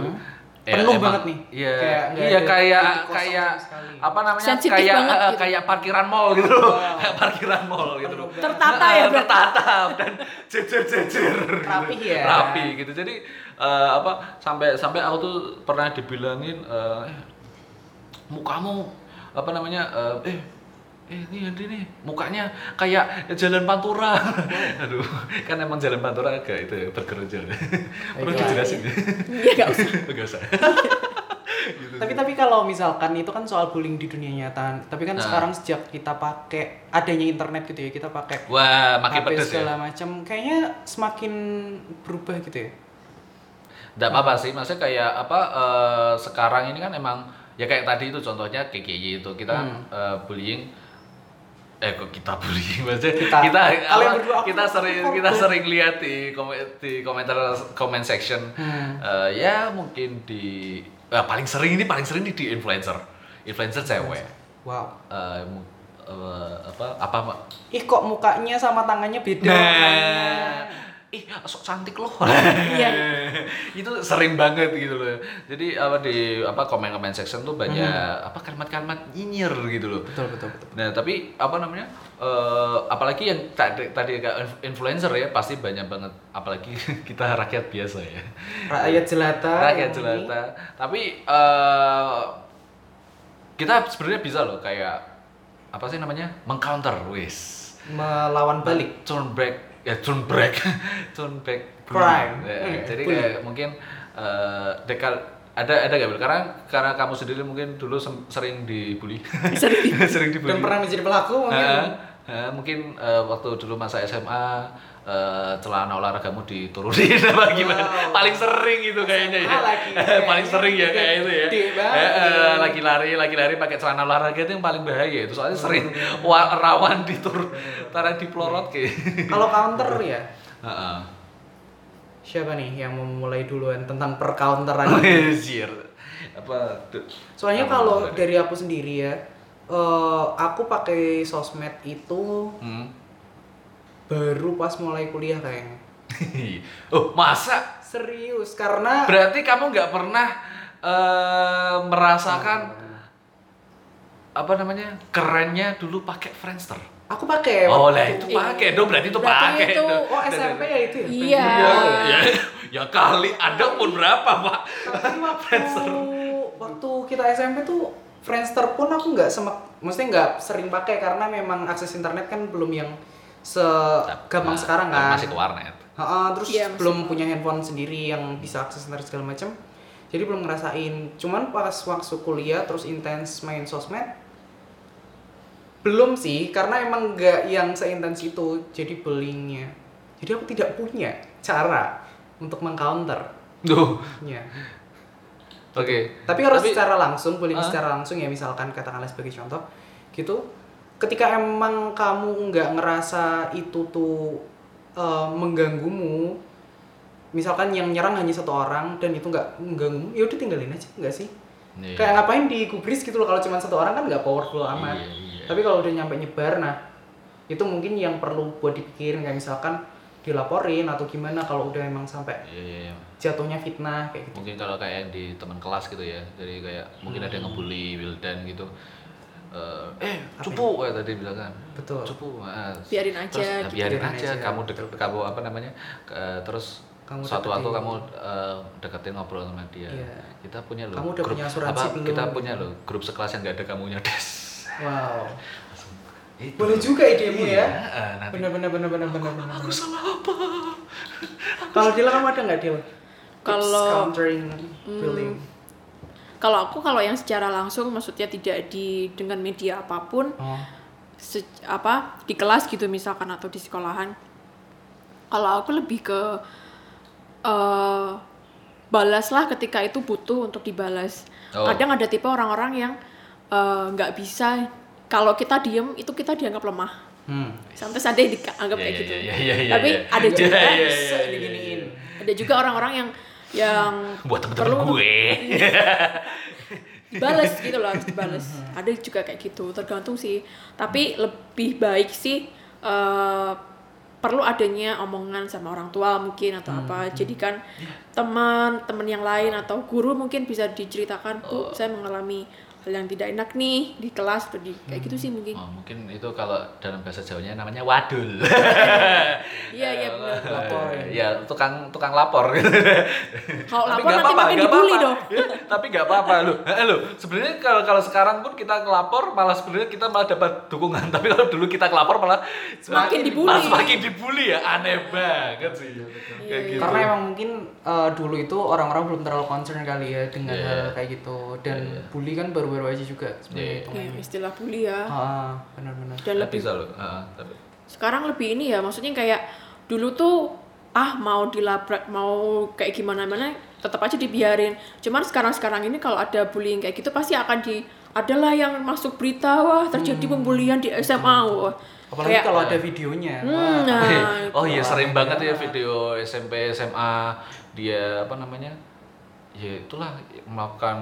[SPEAKER 1] eh,
[SPEAKER 2] Penuh
[SPEAKER 1] emang-
[SPEAKER 2] banget nih.
[SPEAKER 1] Iya,
[SPEAKER 2] Kayak nggak
[SPEAKER 1] iya
[SPEAKER 2] ada
[SPEAKER 1] kayak
[SPEAKER 2] titik kosong
[SPEAKER 1] kayak
[SPEAKER 2] sama sekali.
[SPEAKER 1] apa namanya?
[SPEAKER 3] Sensitif
[SPEAKER 1] kayak
[SPEAKER 3] banget
[SPEAKER 1] eh,
[SPEAKER 3] gitu.
[SPEAKER 1] kayak parkiran mall gitu loh. Kayak parkiran mall gitu loh.
[SPEAKER 3] Tertata ya,
[SPEAKER 1] Nah,
[SPEAKER 3] berarti.
[SPEAKER 1] Tertata dan jejer jejer.
[SPEAKER 2] Rapi ya.
[SPEAKER 1] Rapi gitu. Jadi eh, apa sampai sampai aku tuh pernah dibilangin eh, mukamu apa namanya eh, eh eh ini Henry nih mukanya kayak jalan pantura aduh kan emang jalan pantura agak itu ya, bergerejel perlu
[SPEAKER 2] Baiklah.
[SPEAKER 1] dijelasin ya
[SPEAKER 3] Iya, nggak usah.
[SPEAKER 1] nggak usah gitu.
[SPEAKER 2] Tapi tapi kalau misalkan itu kan soal bullying di dunia nyata. Tapi
[SPEAKER 1] Nah.
[SPEAKER 2] kan sekarang sejak kita pakai adanya internet gitu ya, kita pakai
[SPEAKER 1] wah makin
[SPEAKER 2] HP
[SPEAKER 1] pedes ya
[SPEAKER 2] segala macam, kayaknya semakin berubah gitu ya.
[SPEAKER 1] Nggak apa-apa sih, maksudnya kayak apa eh, sekarang ini kan emang ya kayak tadi itu contohnya KKY itu kita
[SPEAKER 2] Hmm.
[SPEAKER 1] eh, bullying eh kok kita bullying maksudnya kita
[SPEAKER 2] Kita.
[SPEAKER 1] kita,
[SPEAKER 2] Kalian
[SPEAKER 1] apa,
[SPEAKER 2] berdua, aku-
[SPEAKER 1] kita
[SPEAKER 2] aku
[SPEAKER 1] sering
[SPEAKER 2] korban.
[SPEAKER 1] kita sering lihat di komen di komentar comment section
[SPEAKER 2] Hmm.
[SPEAKER 1] Eh, ya mungkin di eh, paling sering ini paling sering ini di influencer influencer cewek
[SPEAKER 2] Wow.
[SPEAKER 1] Eh, mu- eh, apa apa
[SPEAKER 2] Ih kok mukanya sama tangannya beda.
[SPEAKER 1] Nah, ih sok cantik loh
[SPEAKER 3] Iya.
[SPEAKER 1] itu sering banget gitu loh jadi apa di apa komen komen section tuh banyak apa kalimat-kalimat nyinyir gitu loh
[SPEAKER 2] betul betul betul
[SPEAKER 1] Nah, tapi apa namanya? eh, apalagi yang tadi tadi agak influencer ya, pasti banyak banget apalagi kita rakyat biasa ya.
[SPEAKER 2] rakyat jelata
[SPEAKER 1] Rakyat
[SPEAKER 2] yang ini.
[SPEAKER 1] jelata. Tapi eh, kita sebenarnya bisa loh kayak apa sih namanya? mengcounter wis.
[SPEAKER 2] melawan balik
[SPEAKER 1] Turn back ya turn back. turn back
[SPEAKER 2] Crime.
[SPEAKER 1] Ya,
[SPEAKER 2] Hmm,
[SPEAKER 1] jadi
[SPEAKER 2] bully.
[SPEAKER 1] kayak mungkin eh dekal ada ada gak Bel? karena karena kamu sendiri mungkin dulu sem- sering dibully.
[SPEAKER 3] Sering.
[SPEAKER 1] sering dibully.
[SPEAKER 2] dan pernah menjadi pelaku mungkin
[SPEAKER 1] Heeh, heeh, mungkin eh, waktu dulu masa SMA eh, celana olahragamu diturunin apa gimana
[SPEAKER 2] Wow.
[SPEAKER 1] paling sering itu kayaknya ya
[SPEAKER 2] SMA lagi,
[SPEAKER 1] paling
[SPEAKER 2] kayaknya
[SPEAKER 1] sering ya kayak itu ya
[SPEAKER 2] gede banget.
[SPEAKER 1] Heeh, lagi lari lagi lari pakai celana olahraga itu yang paling bahaya itu soalnya sering wa- rawan diturun taruh diplorot ke
[SPEAKER 2] kalau counter ya
[SPEAKER 1] Heeh.
[SPEAKER 2] siapa nih yang mau mulai duluan tentang percounteran
[SPEAKER 1] Anjir. apa tuh?
[SPEAKER 2] Soalnya
[SPEAKER 1] Apa
[SPEAKER 2] kalau
[SPEAKER 1] namanya?
[SPEAKER 2] dari aku sendiri ya, eh, aku pakai sosmed itu
[SPEAKER 1] Hmm.
[SPEAKER 2] baru pas mulai kuliah kayaknya.
[SPEAKER 1] oh masa
[SPEAKER 2] Serius karena
[SPEAKER 1] Berarti kamu nggak pernah eh, merasakan apa namanya kerennya dulu pakai Friendster.
[SPEAKER 2] aku pakai.
[SPEAKER 1] oh
[SPEAKER 2] Eh, waktu-
[SPEAKER 1] lah itu pakai dong berarti itu
[SPEAKER 3] Berarti
[SPEAKER 1] pakai
[SPEAKER 3] itu-
[SPEAKER 1] dong.
[SPEAKER 2] Oh SMP ya itu ya.
[SPEAKER 3] Iya.
[SPEAKER 1] Ya, ya, ya kali ada pun berapa pak?
[SPEAKER 2] Tapi waktu waktu kita SMP tuh Friendster pun aku nggak semak, maksudnya nggak sering pakai karena memang akses internet kan belum yang segampang sekarang
[SPEAKER 1] Nah,
[SPEAKER 2] kan.
[SPEAKER 1] Masih ke warnet.
[SPEAKER 2] Heeh, terus
[SPEAKER 3] Iya, masih
[SPEAKER 2] belum punya handphone sendiri yang bisa akses internet segala macam. Jadi belum ngerasain. Cuman pas waktu kuliah terus intens main sosmed belum sih karena emang nggak yang seintens itu jadi belinya jadi aku tidak punya cara untuk mengcounter
[SPEAKER 1] Duh,
[SPEAKER 2] ya
[SPEAKER 1] oke.
[SPEAKER 2] tapi harus
[SPEAKER 1] Tapi-
[SPEAKER 2] secara langsung bullying
[SPEAKER 1] Hah?
[SPEAKER 2] secara langsung ya misalkan katakanlah sebagai contoh gitu ketika emang kamu nggak ngerasa itu tuh eh, mengganggumu misalkan yang nyerang hanya satu orang dan itu nggak mengganggumu ya udah tinggalin aja nggak sih
[SPEAKER 1] Iya.
[SPEAKER 2] kayak ngapain digubris gitu loh kalau cuma satu orang kan nggak powerful amat
[SPEAKER 1] Iya, iya.
[SPEAKER 2] tapi kalau udah nyampe nyebar nah itu mungkin yang perlu buat dipikirin kayak misalkan dilaporin atau gimana kalau udah emang sampai
[SPEAKER 1] Iya, iya, iya.
[SPEAKER 2] jatuhnya fitnah kayak gitu
[SPEAKER 1] mungkin kalau kayak yang di teman kelas gitu ya jadi kayak mungkin ada
[SPEAKER 2] Hmm.
[SPEAKER 1] yang ngebully Wildan gitu Eh, eh cupu kayak tadi bilang kan
[SPEAKER 2] Betul.
[SPEAKER 1] cupu ah.
[SPEAKER 3] Biarin aja,
[SPEAKER 1] terus, ah,
[SPEAKER 3] gitu.
[SPEAKER 1] biarin
[SPEAKER 2] Biarin
[SPEAKER 1] aja
[SPEAKER 2] aja,
[SPEAKER 1] kamu deket kamu apa namanya ke- eh, terus
[SPEAKER 2] Kamu
[SPEAKER 1] suatu waktu
[SPEAKER 2] deketin.
[SPEAKER 1] kamu eh, deketin ngobrol sama dia
[SPEAKER 2] Iya.
[SPEAKER 1] kita punya loh
[SPEAKER 2] Kamu udah punya asuransi
[SPEAKER 1] apa
[SPEAKER 2] belum?
[SPEAKER 1] kita punya loh grup sekelas yang nggak ada kamunya des
[SPEAKER 2] wow
[SPEAKER 1] Itu.
[SPEAKER 2] boleh juga idemu
[SPEAKER 1] Iya,
[SPEAKER 2] ya
[SPEAKER 1] eh, nanti
[SPEAKER 2] bener bener bener bener bener bener.
[SPEAKER 1] aku salah apa
[SPEAKER 2] kalau Dila kamu ada nggak Dila
[SPEAKER 3] Kalau- Hmm.
[SPEAKER 2] countering bullying
[SPEAKER 3] Kalau aku kalau yang secara langsung maksudnya tidak di dengan media apapun
[SPEAKER 1] Oh,
[SPEAKER 3] se- apa di kelas gitu misalkan atau di sekolahan. Kalau aku lebih ke eh balaslah ketika itu butuh untuk dibalas.
[SPEAKER 1] Oh.
[SPEAKER 3] Kadang ada tipe orang-orang yang eh, nggak bisa kalau kita diem itu kita dianggap lemah.
[SPEAKER 2] hmm.
[SPEAKER 3] Sampai ada yang dianggap kayak gitu.
[SPEAKER 1] Iya, iya, iya,
[SPEAKER 3] Tapi
[SPEAKER 1] iya.
[SPEAKER 3] ada
[SPEAKER 1] Iya,
[SPEAKER 3] juga
[SPEAKER 1] iya, iya,
[SPEAKER 2] bisa
[SPEAKER 1] iya, iya,
[SPEAKER 2] diginiin.
[SPEAKER 1] iya.
[SPEAKER 3] ada juga orang-orang yang yang
[SPEAKER 1] buat
[SPEAKER 3] perlu
[SPEAKER 1] temen-temen
[SPEAKER 3] untuk
[SPEAKER 1] gue
[SPEAKER 3] dibales gitu loh harus dibales
[SPEAKER 1] Hmm.
[SPEAKER 3] ada juga kayak gitu tergantung sih tapi lebih baik sih eh, perlu adanya omongan sama orang tua mungkin atau
[SPEAKER 1] Hmm,
[SPEAKER 3] apa jadikan teman teman yang lain atau guru mungkin bisa diceritakan
[SPEAKER 1] Oh.
[SPEAKER 3] bu saya mengalami hal yang tidak enak nih di kelas atau di kayak gitu sih mungkin
[SPEAKER 1] Oh, mungkin itu kalau dalam bahasa Jawanya namanya wadul.
[SPEAKER 3] iya iya benar
[SPEAKER 2] Lapor.
[SPEAKER 1] ya tukang tukang lapor.
[SPEAKER 3] Kalau
[SPEAKER 1] Tapi
[SPEAKER 3] lapor
[SPEAKER 1] nggak
[SPEAKER 3] nanti makin
[SPEAKER 1] nggak
[SPEAKER 3] dibully
[SPEAKER 1] apa-apa. Iya,
[SPEAKER 3] dong.
[SPEAKER 1] Tapi nggak apa-apa loh. Loh, sebenarnya kalau kalau sekarang pun kita ngelapor malah sebenarnya kita malah dapat dukungan. Tapi kalau dulu kita ngelapor malah
[SPEAKER 3] Semakin dibully. Iya,
[SPEAKER 1] Malah semakin dibully ya aneh banget sih. Kayak gitu.
[SPEAKER 2] karena emang mungkin eh, dulu itu orang-orang belum terlalu concern kali ya dengan
[SPEAKER 1] Iya.
[SPEAKER 2] hal kayak gitu dan
[SPEAKER 1] Iya, iya.
[SPEAKER 2] bully kan baru-baru aja juga sebenarnya
[SPEAKER 1] Iya, iya.
[SPEAKER 3] Iya,
[SPEAKER 2] hitungannya.
[SPEAKER 3] istilah bully ya
[SPEAKER 2] ah benar-benar
[SPEAKER 3] dan
[SPEAKER 1] Tapi
[SPEAKER 3] lebih
[SPEAKER 1] bisa loh. Heeh, tapi-
[SPEAKER 3] sekarang lebih ini ya maksudnya kayak dulu tuh ah mau dilabrak mau kayak gimana mana tetap aja dibiarin cuman sekarang sekarang ini kalau ada bullying kayak gitu pasti akan di adalah yang masuk berita wah terjadi
[SPEAKER 1] Hmm.
[SPEAKER 3] pembulian di SMA wah
[SPEAKER 2] apalagi
[SPEAKER 3] Kayak-
[SPEAKER 2] kalau ada videonya
[SPEAKER 3] Hmm,
[SPEAKER 2] wah.
[SPEAKER 3] nah.
[SPEAKER 1] oh iya sering banget ya video SMP SMA dia apa namanya? Ya itulah melakukan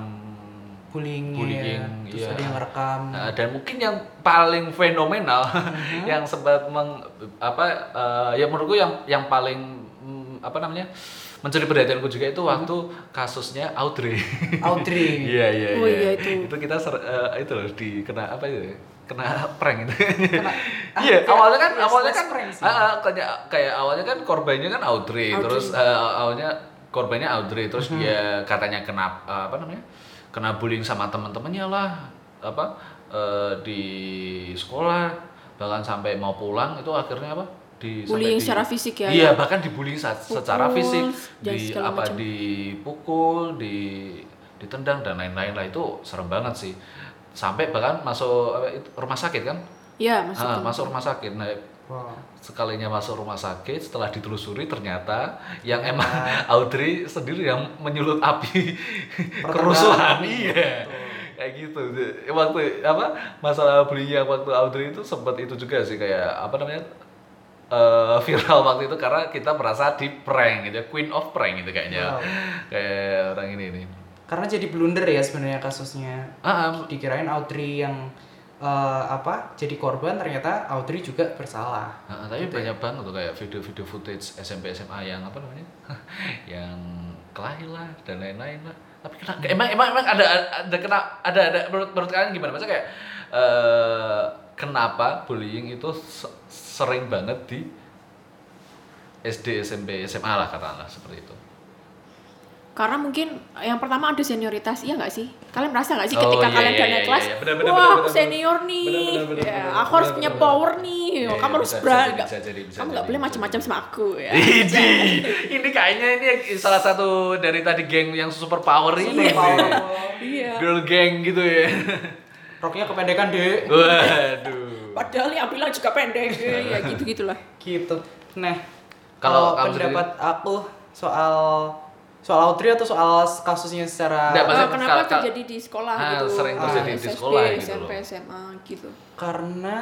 [SPEAKER 2] bullying,
[SPEAKER 1] Bullying,
[SPEAKER 2] terus
[SPEAKER 1] iya.
[SPEAKER 2] ada yang rekam
[SPEAKER 1] Nah, dan mungkin yang paling fenomenal yang sempat meng, apa eh, ya menurutku yang yang paling apa namanya mencuri perhatianku juga itu waktu kasusnya Audrey.
[SPEAKER 2] Audrey.
[SPEAKER 1] Iya iya
[SPEAKER 3] Oh,
[SPEAKER 1] iya.
[SPEAKER 3] iya, itu.
[SPEAKER 1] kita ser, eh, itu loh di kena apa itu? ya? Kena prank itu.
[SPEAKER 2] ah,
[SPEAKER 1] Iya,
[SPEAKER 2] kayak-
[SPEAKER 1] awalnya kan
[SPEAKER 2] iya,
[SPEAKER 1] awalnya
[SPEAKER 2] slash
[SPEAKER 1] kan
[SPEAKER 2] prank sih.
[SPEAKER 1] ah, ah, kayak kayak awalnya kan korbannya kan Audrey,
[SPEAKER 3] Audrey. Mm-hmm.
[SPEAKER 1] terus eh, awalnya korbannya Audrey, terus dia katanya kena eh, apa namanya? Kena bullying sama teman-temannya lah apa eh, di sekolah bahkan sampai mau pulang itu akhirnya apa? Di sampai
[SPEAKER 3] Bullying
[SPEAKER 1] di-
[SPEAKER 3] secara fisik ya,
[SPEAKER 1] Iya,
[SPEAKER 3] ya.
[SPEAKER 1] bahkan dibully sa- secara
[SPEAKER 3] Pukul,
[SPEAKER 1] fisik
[SPEAKER 3] dan
[SPEAKER 1] di
[SPEAKER 3] segala
[SPEAKER 1] apa
[SPEAKER 3] macam.
[SPEAKER 1] dipukul di ditendang dan lain-lain lah itu serem banget sih sampai bahkan masuk apa, itu, rumah sakit kan
[SPEAKER 3] Iya,
[SPEAKER 1] masuk,
[SPEAKER 3] maksudnya.
[SPEAKER 1] masuk rumah sakit nah
[SPEAKER 2] Wow.
[SPEAKER 1] sekalinya masuk rumah sakit setelah ditelusuri ternyata yang emang Audrey sendiri yang menyulut api kerusuhan iya kayak gitu waktu apa masalah bullying yang waktu Audrey itu sempat itu juga sih kayak apa namanya eh, viral waktu itu karena kita merasa di prank gitu queen of prank gitu kayaknya
[SPEAKER 2] Wow.
[SPEAKER 1] kayak orang ini nih
[SPEAKER 2] Karena jadi blunder ya sebenarnya kasusnya.
[SPEAKER 1] ah, ah,
[SPEAKER 2] Dikirain Audrey yang eh, apa? Jadi korban ternyata Audrey juga bersalah.
[SPEAKER 1] Nah, tapi
[SPEAKER 3] Gitu ya?
[SPEAKER 1] banyak banget tuh kayak video-video footage SMP SMA yang apa namanya? yang kelahi lah dan lain-lain lah. Tapi kena
[SPEAKER 3] Hmm.
[SPEAKER 1] emang emang emang ada ada kena ada ada menurut menurut kalian gimana? Maksudnya kayak eh, kenapa bullying itu se- sering banget di SD, SMP, SMA lah katakanlah seperti itu.
[SPEAKER 3] Karena mungkin yang pertama ada senioritas, iya nggak sih? Kalian merasa nggak sih
[SPEAKER 1] Oh,
[SPEAKER 3] ketika
[SPEAKER 1] iya, iya,
[SPEAKER 3] kalian udah
[SPEAKER 1] iya,
[SPEAKER 3] naik kelas,
[SPEAKER 1] iya, benar, benar,
[SPEAKER 3] wah
[SPEAKER 1] benar,
[SPEAKER 3] aku
[SPEAKER 1] benar,
[SPEAKER 3] senior
[SPEAKER 1] benar,
[SPEAKER 3] nih,
[SPEAKER 1] benar, benar,
[SPEAKER 3] Ya,
[SPEAKER 1] benar,
[SPEAKER 3] aku harus
[SPEAKER 1] benar,
[SPEAKER 3] punya
[SPEAKER 1] benar,
[SPEAKER 3] power
[SPEAKER 1] benar.
[SPEAKER 3] nih,
[SPEAKER 1] Iya, iya,
[SPEAKER 3] kamu harus
[SPEAKER 1] bisa, bisa
[SPEAKER 3] berani,
[SPEAKER 1] jadi,
[SPEAKER 3] nggak-
[SPEAKER 1] bisa jadi, bisa
[SPEAKER 3] kamu nggak
[SPEAKER 1] jadi,
[SPEAKER 3] boleh
[SPEAKER 1] bisa
[SPEAKER 3] macam-macam
[SPEAKER 1] jadi.
[SPEAKER 3] sama aku ya.
[SPEAKER 1] Ini, ini kayaknya ini salah satu dari tadi geng yang super power ini.
[SPEAKER 3] Iya.
[SPEAKER 1] Girl gang gitu ya.
[SPEAKER 2] Roknya kependekan, Dek.
[SPEAKER 1] Waduh.
[SPEAKER 3] Padahal ya Abdullah juga
[SPEAKER 1] Iya,
[SPEAKER 3] pendek, ya gitu gitulah.
[SPEAKER 2] gitu nah
[SPEAKER 1] Kalau kamu
[SPEAKER 2] kalau pendapat aku soal soal Audrey atau soal kasusnya secara
[SPEAKER 1] Nggak, maksudnya
[SPEAKER 3] Eh, kenapa
[SPEAKER 1] kal- kal-
[SPEAKER 3] terjadi di sekolah
[SPEAKER 1] Ah,
[SPEAKER 3] gitu?
[SPEAKER 1] sering terjadi di
[SPEAKER 3] SSB,
[SPEAKER 1] sekolah gitu
[SPEAKER 3] SMP,
[SPEAKER 1] loh.
[SPEAKER 3] SMA gitu.
[SPEAKER 2] karena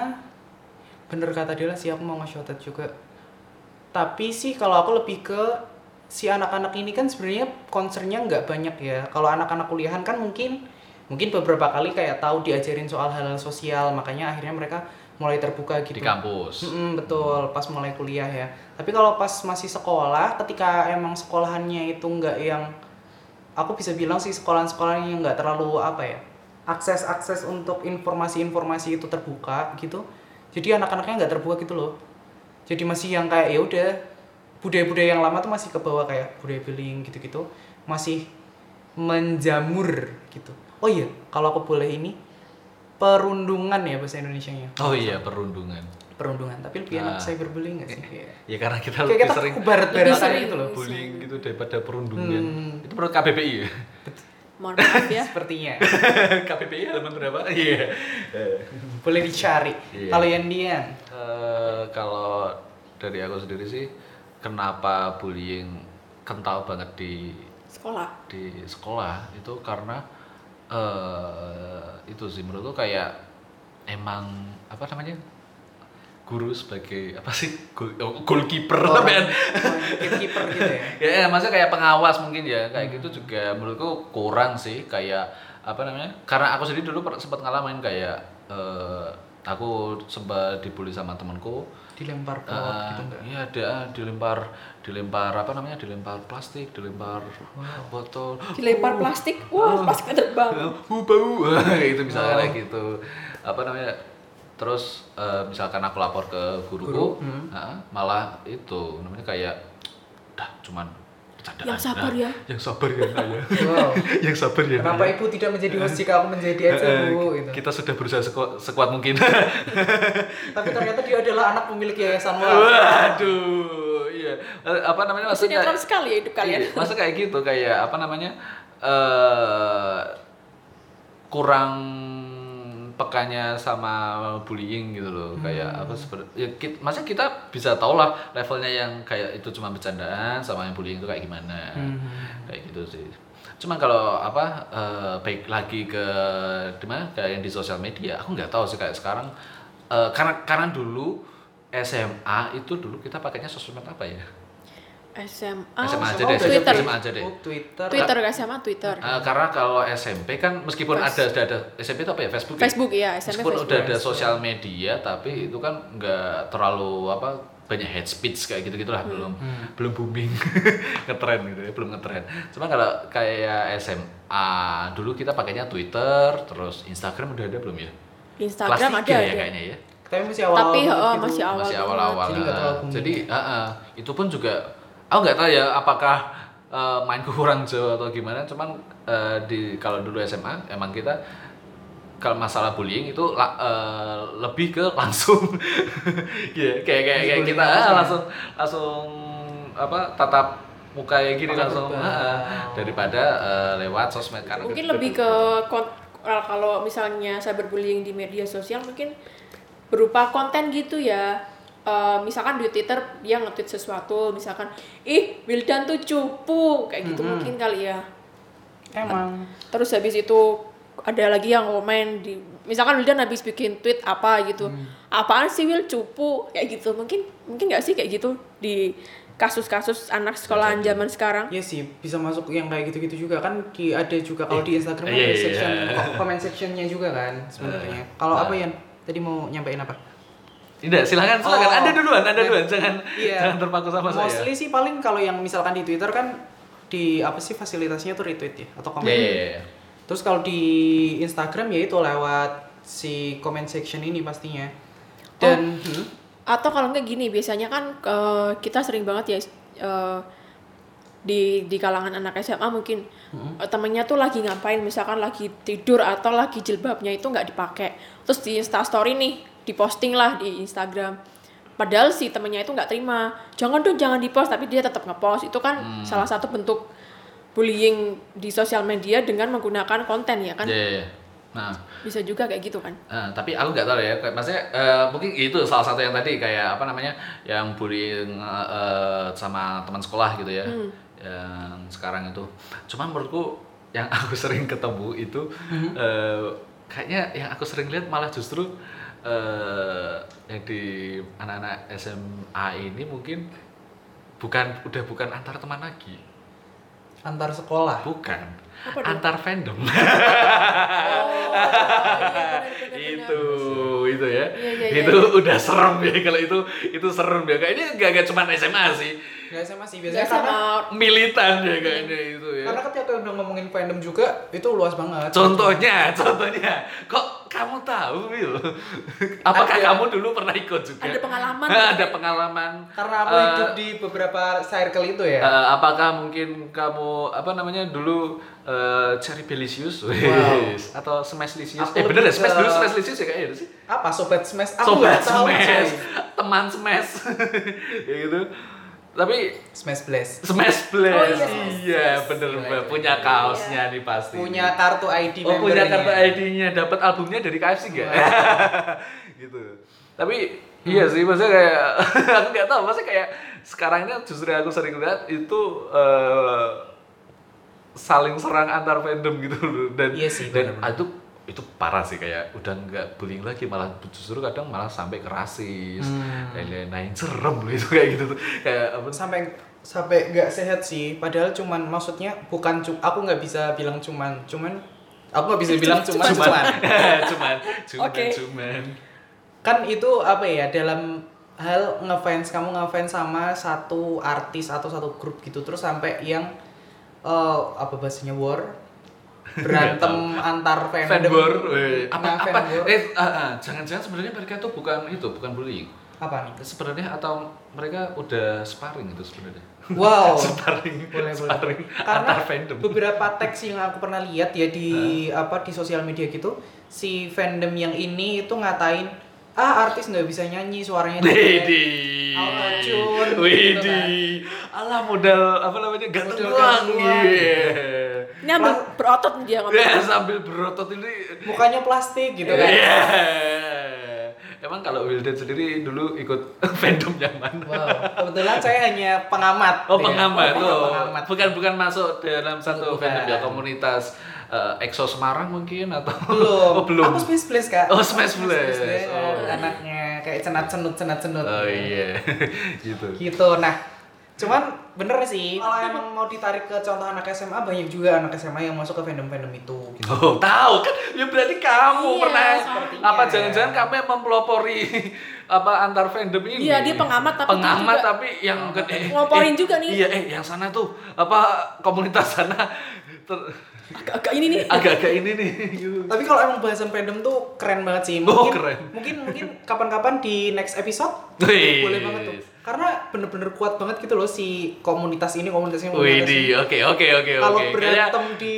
[SPEAKER 2] bener kata Dila sih aku mau nge-shoutout juga tapi sih kalau aku lebih ke si anak-anak ini kan sebenarnya concernnya nggak banyak ya kalau anak-anak kuliahan kan mungkin mungkin beberapa kali kayak tahu diajarin soal hal-hal sosial makanya akhirnya mereka mulai terbuka
[SPEAKER 1] Di
[SPEAKER 2] gitu
[SPEAKER 1] kampus.
[SPEAKER 2] Mm-mm, betul, pas mulai kuliah ya. Tapi kalau pas masih sekolah, ketika emang sekolahannya itu nggak yang, aku bisa bilang sih sekolahan-sekolahan yang nggak terlalu apa ya, akses-akses untuk informasi-informasi itu terbuka gitu. Jadi anak-anaknya nggak terbuka gitu loh. Jadi masih yang kayak ya udah budaya-budaya yang lama tuh masih ke bawah kayak budaya billing gitu-gitu, masih menjamur gitu. Oh iya, kalau aku boleh ini perundungan ya bahasa Indonesianya
[SPEAKER 1] Oh iya, perundungan.
[SPEAKER 2] perundungan tapi lebih
[SPEAKER 1] Ah.
[SPEAKER 2] enak cyberbullying gak sih Iya.
[SPEAKER 1] Ya karena kita
[SPEAKER 2] kayak
[SPEAKER 1] lebih
[SPEAKER 2] kita
[SPEAKER 1] sering
[SPEAKER 2] barat baratan
[SPEAKER 3] sering.
[SPEAKER 2] gitu loh
[SPEAKER 1] bullying gitu daripada perundungan.
[SPEAKER 2] Hmm.
[SPEAKER 1] Itu menurut KBBI ya?
[SPEAKER 3] Mohon maaf ya.
[SPEAKER 2] sepertinya
[SPEAKER 1] KBBI halaman berapa? Iya. Eh.
[SPEAKER 2] boleh dicari
[SPEAKER 1] Iya.
[SPEAKER 2] kalau yang Dian
[SPEAKER 1] Eh, kalau dari aku sendiri sih, kenapa bullying kental banget di
[SPEAKER 3] Sekolah.
[SPEAKER 1] di sekolah itu karena eh itu sih menurutku kayak emang apa namanya guru sebagai apa sih Goal- oh, goalkeeper
[SPEAKER 2] Orang-
[SPEAKER 1] men.
[SPEAKER 2] orang keeper gitu ya
[SPEAKER 1] ya, ya maksudnya kayak pengawas mungkin ya
[SPEAKER 3] Hmm.
[SPEAKER 1] kayak gitu juga menurutku kurang sih kayak apa namanya karena aku sendiri dulu per- sempat ngalamin kayak eh, aku sempat dibully sama temanku
[SPEAKER 2] dilempar bola
[SPEAKER 1] Ah,
[SPEAKER 2] gitu enggak
[SPEAKER 1] Iya ada ah, dilempar dilempar apa namanya dilempar plastik dilempar botol
[SPEAKER 3] Dilempar plastik, wah plastiknya terbang.
[SPEAKER 1] hu bau itu misalnya
[SPEAKER 2] Oh.
[SPEAKER 1] kayak gitu apa namanya terus eh, misalkan aku lapor ke guruku ah,
[SPEAKER 2] hmm.
[SPEAKER 1] malah itu namanya kayak dah cuman bercandaan,
[SPEAKER 3] Yang sabar
[SPEAKER 1] dah.
[SPEAKER 3] ya."
[SPEAKER 1] yang sabar ya Nak, ya
[SPEAKER 2] wow
[SPEAKER 1] yang sabar ya Nak,
[SPEAKER 2] kenapa
[SPEAKER 1] ya."
[SPEAKER 2] ibu tidak menjadi host jika aku menjadi aja
[SPEAKER 1] Eh, eh,
[SPEAKER 2] bu gitu
[SPEAKER 1] kita sudah berusaha seku- sekuat mungkin
[SPEAKER 2] tapi ternyata dia adalah anak pemilik yayasan
[SPEAKER 1] Eh,
[SPEAKER 2] wal
[SPEAKER 1] Waduh, iya. Eh, Apa namanya maksudnya?
[SPEAKER 3] Sinetron sekali ya hidup kalian.
[SPEAKER 1] Iya, masa kayak gitu kayak apa namanya? eh kurang pekanya sama bullying gitu loh kayak
[SPEAKER 3] Hmm.
[SPEAKER 1] apa seperti ya kita, masa kita bisa tau lah levelnya yang kayak itu cuma bercandaan sama yang bullying itu kayak gimana
[SPEAKER 3] Hmm.
[SPEAKER 1] kayak gitu sih cuman kalau apa eh, baik lagi ke di mana kayak yang di sosial media aku nggak tahu sih kayak sekarang eh, karena karena dulu SMA itu dulu kita pakainya sosmed apa ya
[SPEAKER 3] SMA,
[SPEAKER 1] SMA aja deh,
[SPEAKER 2] udah
[SPEAKER 3] Twitter.
[SPEAKER 1] SMA aja deh.
[SPEAKER 2] Oh, Twitter.
[SPEAKER 3] Twitter ke SMA Twitter.
[SPEAKER 1] Eh, karena kalau SMP kan meskipun ada sudah ada SMP itu apa ya Facebook. ya?
[SPEAKER 3] Facebook ya, SMP
[SPEAKER 1] Meskipun
[SPEAKER 3] Facebook.
[SPEAKER 1] udah ada sosial media tapi itu kan nggak terlalu apa banyak head speech kayak gitu gitulah
[SPEAKER 3] Hmm.
[SPEAKER 1] belum belum booming ngetren gitu ya belum ngetren cuma kalau kayak SMA dulu kita pakainya Twitter terus Instagram udah ada belum ya
[SPEAKER 3] Instagram
[SPEAKER 1] Kelas
[SPEAKER 3] ada,
[SPEAKER 1] tiga ya
[SPEAKER 3] ada.
[SPEAKER 1] kayaknya ya
[SPEAKER 2] Tapi masih gitu. awal
[SPEAKER 3] Tapi oh, masih awal.
[SPEAKER 1] masih
[SPEAKER 3] banget.
[SPEAKER 1] awal-awal
[SPEAKER 2] Jadi nggak
[SPEAKER 1] lah.
[SPEAKER 2] terlalu booming.
[SPEAKER 1] jadi ah, ah. itu pun juga aku nggak tahu ya apakah eh, mainku kurang jauh atau gimana cuman eh, di kalau dulu SMA emang kita kalau masalah bullying itu la- eh, lebih ke langsung Iya, kayak kayak, kayak kita ah,
[SPEAKER 2] ya?
[SPEAKER 1] langsung langsung apa tatap muka ya gini
[SPEAKER 2] Tatap
[SPEAKER 1] langsung ah,
[SPEAKER 2] muka.
[SPEAKER 1] ah. daripada eh, lewat sosmed karena
[SPEAKER 3] Mungkin
[SPEAKER 1] kita- kan
[SPEAKER 3] lebih ke kon- kalau kalau misalnya cyberbullying di media sosial mungkin berupa konten gitu ya. Eh, misalkan di Twitter dia nge-tweet sesuatu, misalkan ih Wildan tuh cupu kayak gitu mungkin kali ya.
[SPEAKER 2] Emang.
[SPEAKER 3] Terus habis itu ada lagi yang komen di misalkan Wildan habis bikin tweet apa gitu. Apaan sih Wil cupu kayak gitu. Mungkin mungkin nggak sih kayak gitu di kasus-kasus anak sekolahan zaman sekarang.
[SPEAKER 2] Iya sih, bisa masuk yang kayak gitu-gitu juga kan di ada juga kalau di Instagram kan
[SPEAKER 1] iya,
[SPEAKER 2] ada
[SPEAKER 1] iya,
[SPEAKER 2] section
[SPEAKER 1] iya.
[SPEAKER 2] ko- comment sectionnya juga kan sebenarnya.
[SPEAKER 1] Eh,
[SPEAKER 2] Kalau
[SPEAKER 1] nah.
[SPEAKER 2] apa Yan? Tadi mau nyampein apa?
[SPEAKER 1] tidak silakan silakan
[SPEAKER 2] Oh.
[SPEAKER 1] anda duluan anda duluan jangan
[SPEAKER 2] Iya.
[SPEAKER 1] jangan terpaku sama saya Iya,
[SPEAKER 2] Mostly sih paling kalau yang misalkan di Twitter kan di apa sih fasilitasnya tuh retweet ya atau komen.
[SPEAKER 1] Iya, iya, iya.
[SPEAKER 2] Terus kalau di Instagram ya itu lewat si comment section ini pastinya.
[SPEAKER 1] Oh.
[SPEAKER 2] Dan hmm,
[SPEAKER 3] atau kalau nggak gini biasanya kan eh, kita sering banget ya eh, di di kalangan anak SMA mungkin eh, temennya tuh lagi ngapain misalkan lagi tidur atau lagi jilbabnya itu nggak dipakai terus di instastory nih diposting lah di Instagram padahal si temennya itu nggak terima jangan dong jangan dipost tapi dia tetap ngepost itu kan salah satu bentuk bullying di sosial media dengan menggunakan konten ya kan
[SPEAKER 1] Iya, iya, iya. Nah,
[SPEAKER 3] bisa juga kayak gitu kan
[SPEAKER 1] eh, tapi aku nggak tahu ya. kayak- Maksudnya eh, mungkin itu salah satu yang tadi kayak apa namanya yang bullying eh, eh, sama teman sekolah gitu ya.
[SPEAKER 3] Hmm.
[SPEAKER 1] Yang sekarang itu. Cuman menurutku yang aku sering ketemu itu
[SPEAKER 3] Hmm.
[SPEAKER 1] eh, kayaknya yang aku sering lihat malah justru eh, yang di anak-anak SMA ini mungkin bukan udah bukan antar teman lagi.
[SPEAKER 2] antar sekolah.
[SPEAKER 1] Bukan.
[SPEAKER 3] Apa dong?
[SPEAKER 1] Antar fandom. itu itu ya
[SPEAKER 3] Iya, iya,
[SPEAKER 1] itu udah serem ya kalau itu itu serem ya kayaknya gak, gak cuma SMA sih
[SPEAKER 2] Gak sama sih biasanya
[SPEAKER 3] biasanya
[SPEAKER 2] karena
[SPEAKER 3] sama
[SPEAKER 1] militan ya kayaknya itu ya
[SPEAKER 2] Iya, karena ketika udah ngomongin fandom juga itu luas banget.
[SPEAKER 1] contohnya contohnya kok kamu tahu Wil apakah
[SPEAKER 2] Ada.
[SPEAKER 1] kamu dulu pernah ikut juga
[SPEAKER 3] Ada pengalaman.
[SPEAKER 1] ada pengalaman
[SPEAKER 2] Karena aku
[SPEAKER 1] Eh,
[SPEAKER 2] hidup di beberapa circle itu ya.
[SPEAKER 1] eh, apakah mungkin kamu apa namanya dulu eh, Cherry Belicious Wis. atau Smash Licious
[SPEAKER 2] Aku
[SPEAKER 1] eh bener ya
[SPEAKER 2] lebih
[SPEAKER 1] Smash
[SPEAKER 2] ke-
[SPEAKER 1] dulu Smash Licious ya kayaknya sih
[SPEAKER 2] apa sobat smash aku
[SPEAKER 1] sobat
[SPEAKER 2] nggak tahu coy.
[SPEAKER 1] smash, teman smash, ya gitu. Tapi
[SPEAKER 2] smash blast
[SPEAKER 1] smash
[SPEAKER 2] Oh
[SPEAKER 1] blast,
[SPEAKER 3] iya,
[SPEAKER 1] iya,
[SPEAKER 3] Smash
[SPEAKER 1] bener Mbak. punya kaosnya
[SPEAKER 2] Iya.
[SPEAKER 1] nih pasti.
[SPEAKER 2] punya kartu ID
[SPEAKER 1] oh punya
[SPEAKER 2] membernya. Iya.
[SPEAKER 1] kartu ID-nya, dapat albumnya dari KFC nggak? gitu. Tapi iya sih, maksudnya kayak aku nggak tahu, maksudnya kayak sekarang ini justru aku sering lihat itu eh, saling serang antar fandom gitu loh. dan
[SPEAKER 2] Iya sih,
[SPEAKER 1] dan
[SPEAKER 2] benar-benar.
[SPEAKER 1] itu itu parah sih kayak udah nggak bullying lagi malah justru kadang malah sampai ke rasis
[SPEAKER 2] Hmm.
[SPEAKER 1] dan lain-lain Nah, serem loh itu kayak gitu tuh kayak apa
[SPEAKER 2] sampai sampai nggak sehat sih padahal cuman maksudnya bukan cu- aku nggak bisa bilang cuman cuman aku nggak bisa bilang cuman
[SPEAKER 1] cuman
[SPEAKER 2] cuman
[SPEAKER 1] cuman cuman
[SPEAKER 3] Oke.
[SPEAKER 1] cuman
[SPEAKER 2] kan itu apa ya dalam hal ngefans kamu ngefans sama satu artis atau satu grup gitu terus sampai yang eh, apa bahasanya war berantem antar fandom
[SPEAKER 1] fanbor eh, apa
[SPEAKER 2] Nah,
[SPEAKER 1] apa
[SPEAKER 2] fanbor.
[SPEAKER 1] eh ah, ah, jangan-jangan sebenarnya mereka tuh bukan itu bukan bullying
[SPEAKER 2] apa nih
[SPEAKER 1] sebenarnya atau mereka udah sparring itu sebenarnya
[SPEAKER 2] Wow.
[SPEAKER 1] sparring
[SPEAKER 2] boleh boleh.
[SPEAKER 1] sparring
[SPEAKER 2] Karena
[SPEAKER 1] antar fandom
[SPEAKER 2] beberapa teks yang aku pernah lihat ya di apa di sosial media gitu, si fandom yang ini itu ngatain ah artis nggak bisa nyanyi suaranya jelek."
[SPEAKER 1] Widi.
[SPEAKER 2] Autotune, gitu
[SPEAKER 1] Widi. Alah modal apa namanya? Ganteng
[SPEAKER 2] Modal
[SPEAKER 1] doang.
[SPEAKER 2] ganteng doang.
[SPEAKER 1] Iya.
[SPEAKER 3] ini ambil berotot dia ngomong
[SPEAKER 2] Iya.
[SPEAKER 1] Ya sambil berotot ini.
[SPEAKER 2] mukanya plastik gitu kan.
[SPEAKER 1] Iya. Emang kalau Wildan sendiri dulu ikut fandom yang mana?
[SPEAKER 2] Wow, kebetulan saya hanya pengamat.
[SPEAKER 1] Oh
[SPEAKER 3] Iya.
[SPEAKER 2] ya.
[SPEAKER 1] pengamat,
[SPEAKER 2] Saya
[SPEAKER 1] oh,
[SPEAKER 2] pengamat.
[SPEAKER 1] bukan bukan masuk dalam satu
[SPEAKER 2] Bukan.
[SPEAKER 1] fandom ya komunitas eh, EXO Semarang mungkin atau
[SPEAKER 2] Belum.
[SPEAKER 1] Oh, belum.
[SPEAKER 2] Aku Smash Iya, Blast, Kak.
[SPEAKER 1] Oh, Smash
[SPEAKER 2] Aku
[SPEAKER 1] Blast.
[SPEAKER 2] Blast,
[SPEAKER 1] Oh.
[SPEAKER 2] Anaknya kayak cenat-cenut cenat-cenut.
[SPEAKER 1] Oh iya, Oh, gitu.
[SPEAKER 2] Gitu. Nah, Cuman bener sih, kalau emang mau ditarik ke contoh anak SMA banyak juga anak SMA yang masuk ke fandom-fandom itu. Gitu.
[SPEAKER 1] Oh, tahu kan? Ya berarti kamu
[SPEAKER 3] Iya,
[SPEAKER 1] pernah ya?
[SPEAKER 3] sepertinya.
[SPEAKER 1] apa jangan-jangan kamu yang mempelopori apa antar fandom ini?
[SPEAKER 3] Iya, dia pengamat tapi dia
[SPEAKER 1] pengamat
[SPEAKER 3] juga-
[SPEAKER 1] tapi yang gede.
[SPEAKER 3] Ngeloporin juga nih.
[SPEAKER 1] Iya, eh yang sana tuh apa komunitas sana ter-
[SPEAKER 3] Agak-agak ini nih.
[SPEAKER 1] agak-agak ini nih. Yuk.
[SPEAKER 2] Tapi kalau emang bahasan fandom tuh keren banget sih. Mungkin,
[SPEAKER 1] Oh, keren.
[SPEAKER 2] Mungkin mungkin kapan-kapan di next episode
[SPEAKER 1] Wih.
[SPEAKER 2] boleh banget tuh. Karena bener-bener kuat banget gitu loh si komunitas ini komunitas ini. komunitas ini.
[SPEAKER 1] Widih, oke oke oke
[SPEAKER 2] Kalau
[SPEAKER 1] oke. Kayaknya-
[SPEAKER 2] berantem di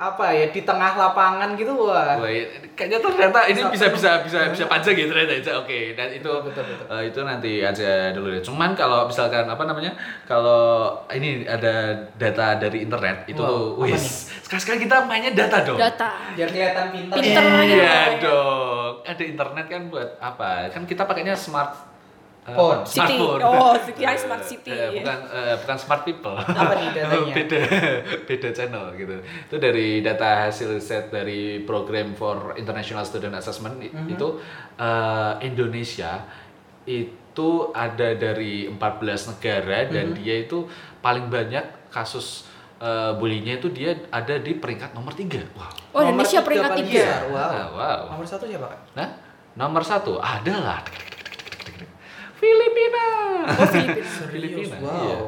[SPEAKER 2] apa ya di tengah lapangan gitu wah.
[SPEAKER 1] Wah, iya. kayaknya ternyata ini bisa bisa bisa bisa panjang gitu ternyata Ica. oke dan itu
[SPEAKER 2] Betul, betul.
[SPEAKER 1] eh, itu nanti aja dulu ya cuman kalau misalkan apa namanya kalau ini ada data dari internet itu
[SPEAKER 2] Wow, apa
[SPEAKER 1] wis sekarang sekarang kita mainnya data dong
[SPEAKER 3] Data.
[SPEAKER 2] Biar kelihatan pintar. Eh,
[SPEAKER 3] Pinter. gitu
[SPEAKER 1] iya
[SPEAKER 3] mainnya.
[SPEAKER 1] dong ada internet kan buat apa kan kita pakainya smart eh, apa?
[SPEAKER 2] Phone.
[SPEAKER 3] City.
[SPEAKER 1] smartphone
[SPEAKER 3] Oh, kirain smart city.
[SPEAKER 1] Eh, bukan eh, bukan smart people
[SPEAKER 2] Apa nih datanya?
[SPEAKER 1] beda beda channel gitu itu dari data hasil riset dari program for international student assessment i-
[SPEAKER 2] Mhm.
[SPEAKER 1] itu eh, Indonesia itu ada dari 14 negara dan
[SPEAKER 2] Mhm.
[SPEAKER 1] dia itu paling banyak kasus eh, bullyingnya itu dia ada di peringkat nomor tiga wow
[SPEAKER 3] Oh,
[SPEAKER 2] Nomor
[SPEAKER 3] Indonesia
[SPEAKER 2] tiga
[SPEAKER 3] peringkat
[SPEAKER 2] paling
[SPEAKER 3] tiga.
[SPEAKER 2] besar, Wow.
[SPEAKER 1] Ah, wow
[SPEAKER 2] Nomor satu siapa kak?
[SPEAKER 1] nah nomor satu adalah Filipina
[SPEAKER 3] Oh, Filipina.
[SPEAKER 1] Filipina.
[SPEAKER 2] wow.
[SPEAKER 1] Iya.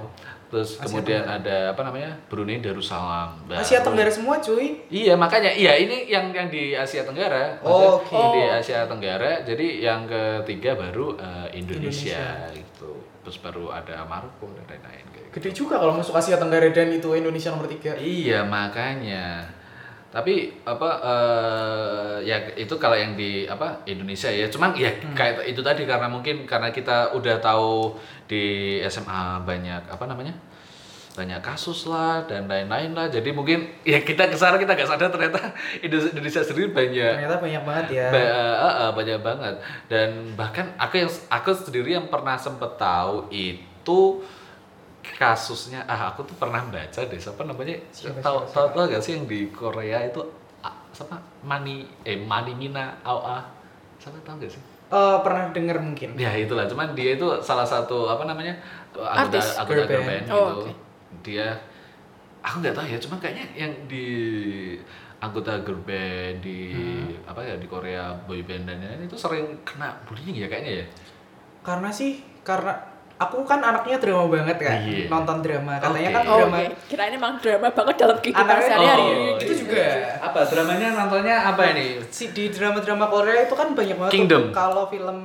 [SPEAKER 1] Terus
[SPEAKER 2] Asia
[SPEAKER 1] kemudian ada apa namanya? Brunei Darussalam. Baru-
[SPEAKER 2] Asia Tenggara semua cuy.
[SPEAKER 1] Iya, makanya iya ini yang yang di Asia Tenggara. Maksudnya
[SPEAKER 2] Oh, Oke.
[SPEAKER 1] Di Asia Tenggara. Jadi yang ketiga baru eh, Indonesia, gitu. Terus baru ada Maroko dan lain-lain kayak gitu.
[SPEAKER 2] Gede juga kalau masuk Asia Tenggara dan itu Indonesia nomor tiga.
[SPEAKER 1] Iya, makanya. Tapi apa eh, ya itu kalau yang di apa Indonesia ya. Cuman ya kayak itu tadi karena mungkin karena kita udah tahu di SMA banyak apa namanya? banyak kasus lah dan lain-lain lah jadi mungkin ya kita kesana kita nggak sadar ternyata Indonesia Indonesia sendiri banyak
[SPEAKER 2] Ternyata banyak banget ya.
[SPEAKER 1] Iya. Ba- eh, eh, eh, banyak banget dan bahkan aku yang aku sendiri yang pernah sempet tahu itu kasusnya ah aku tuh pernah baca deh siapa namanya
[SPEAKER 2] Siapa,
[SPEAKER 1] tahu
[SPEAKER 2] siapa,
[SPEAKER 1] tahu tahu gak sih yang di Korea itu ah, siapa Mani eh Mani Mina Aoa siapa tahu gak sih
[SPEAKER 2] Eh, pernah denger mungkin.
[SPEAKER 1] ya itulah cuman dia itu salah satu apa namanya anggota
[SPEAKER 3] Artis.
[SPEAKER 1] anggota
[SPEAKER 2] Girl
[SPEAKER 1] girl band
[SPEAKER 2] band.
[SPEAKER 1] gitu
[SPEAKER 3] Oh, oke.
[SPEAKER 1] dia aku nggak tahu ya cuman kayaknya yang di anggota girl band di apa ya di Korea boy band dan lain-lain itu sering kena bullying ya kayaknya ya
[SPEAKER 2] Karena sih karena aku kan anaknya drama banget kan.
[SPEAKER 1] Iya.
[SPEAKER 2] Nonton drama. Katanya
[SPEAKER 1] Oke.
[SPEAKER 2] kan
[SPEAKER 3] Oh,
[SPEAKER 2] drama.
[SPEAKER 3] oke. Kirain emang drama banget dalam kehidupan
[SPEAKER 2] Anaknya-
[SPEAKER 3] sehari-hari.
[SPEAKER 2] Oh,
[SPEAKER 3] Gitu.
[SPEAKER 1] iya.
[SPEAKER 2] Itu juga.
[SPEAKER 1] apa dramanya nontonnya apa ini
[SPEAKER 2] Si di drama-drama Korea itu kan banyak banget tuh
[SPEAKER 1] Kingdom.
[SPEAKER 2] kalau film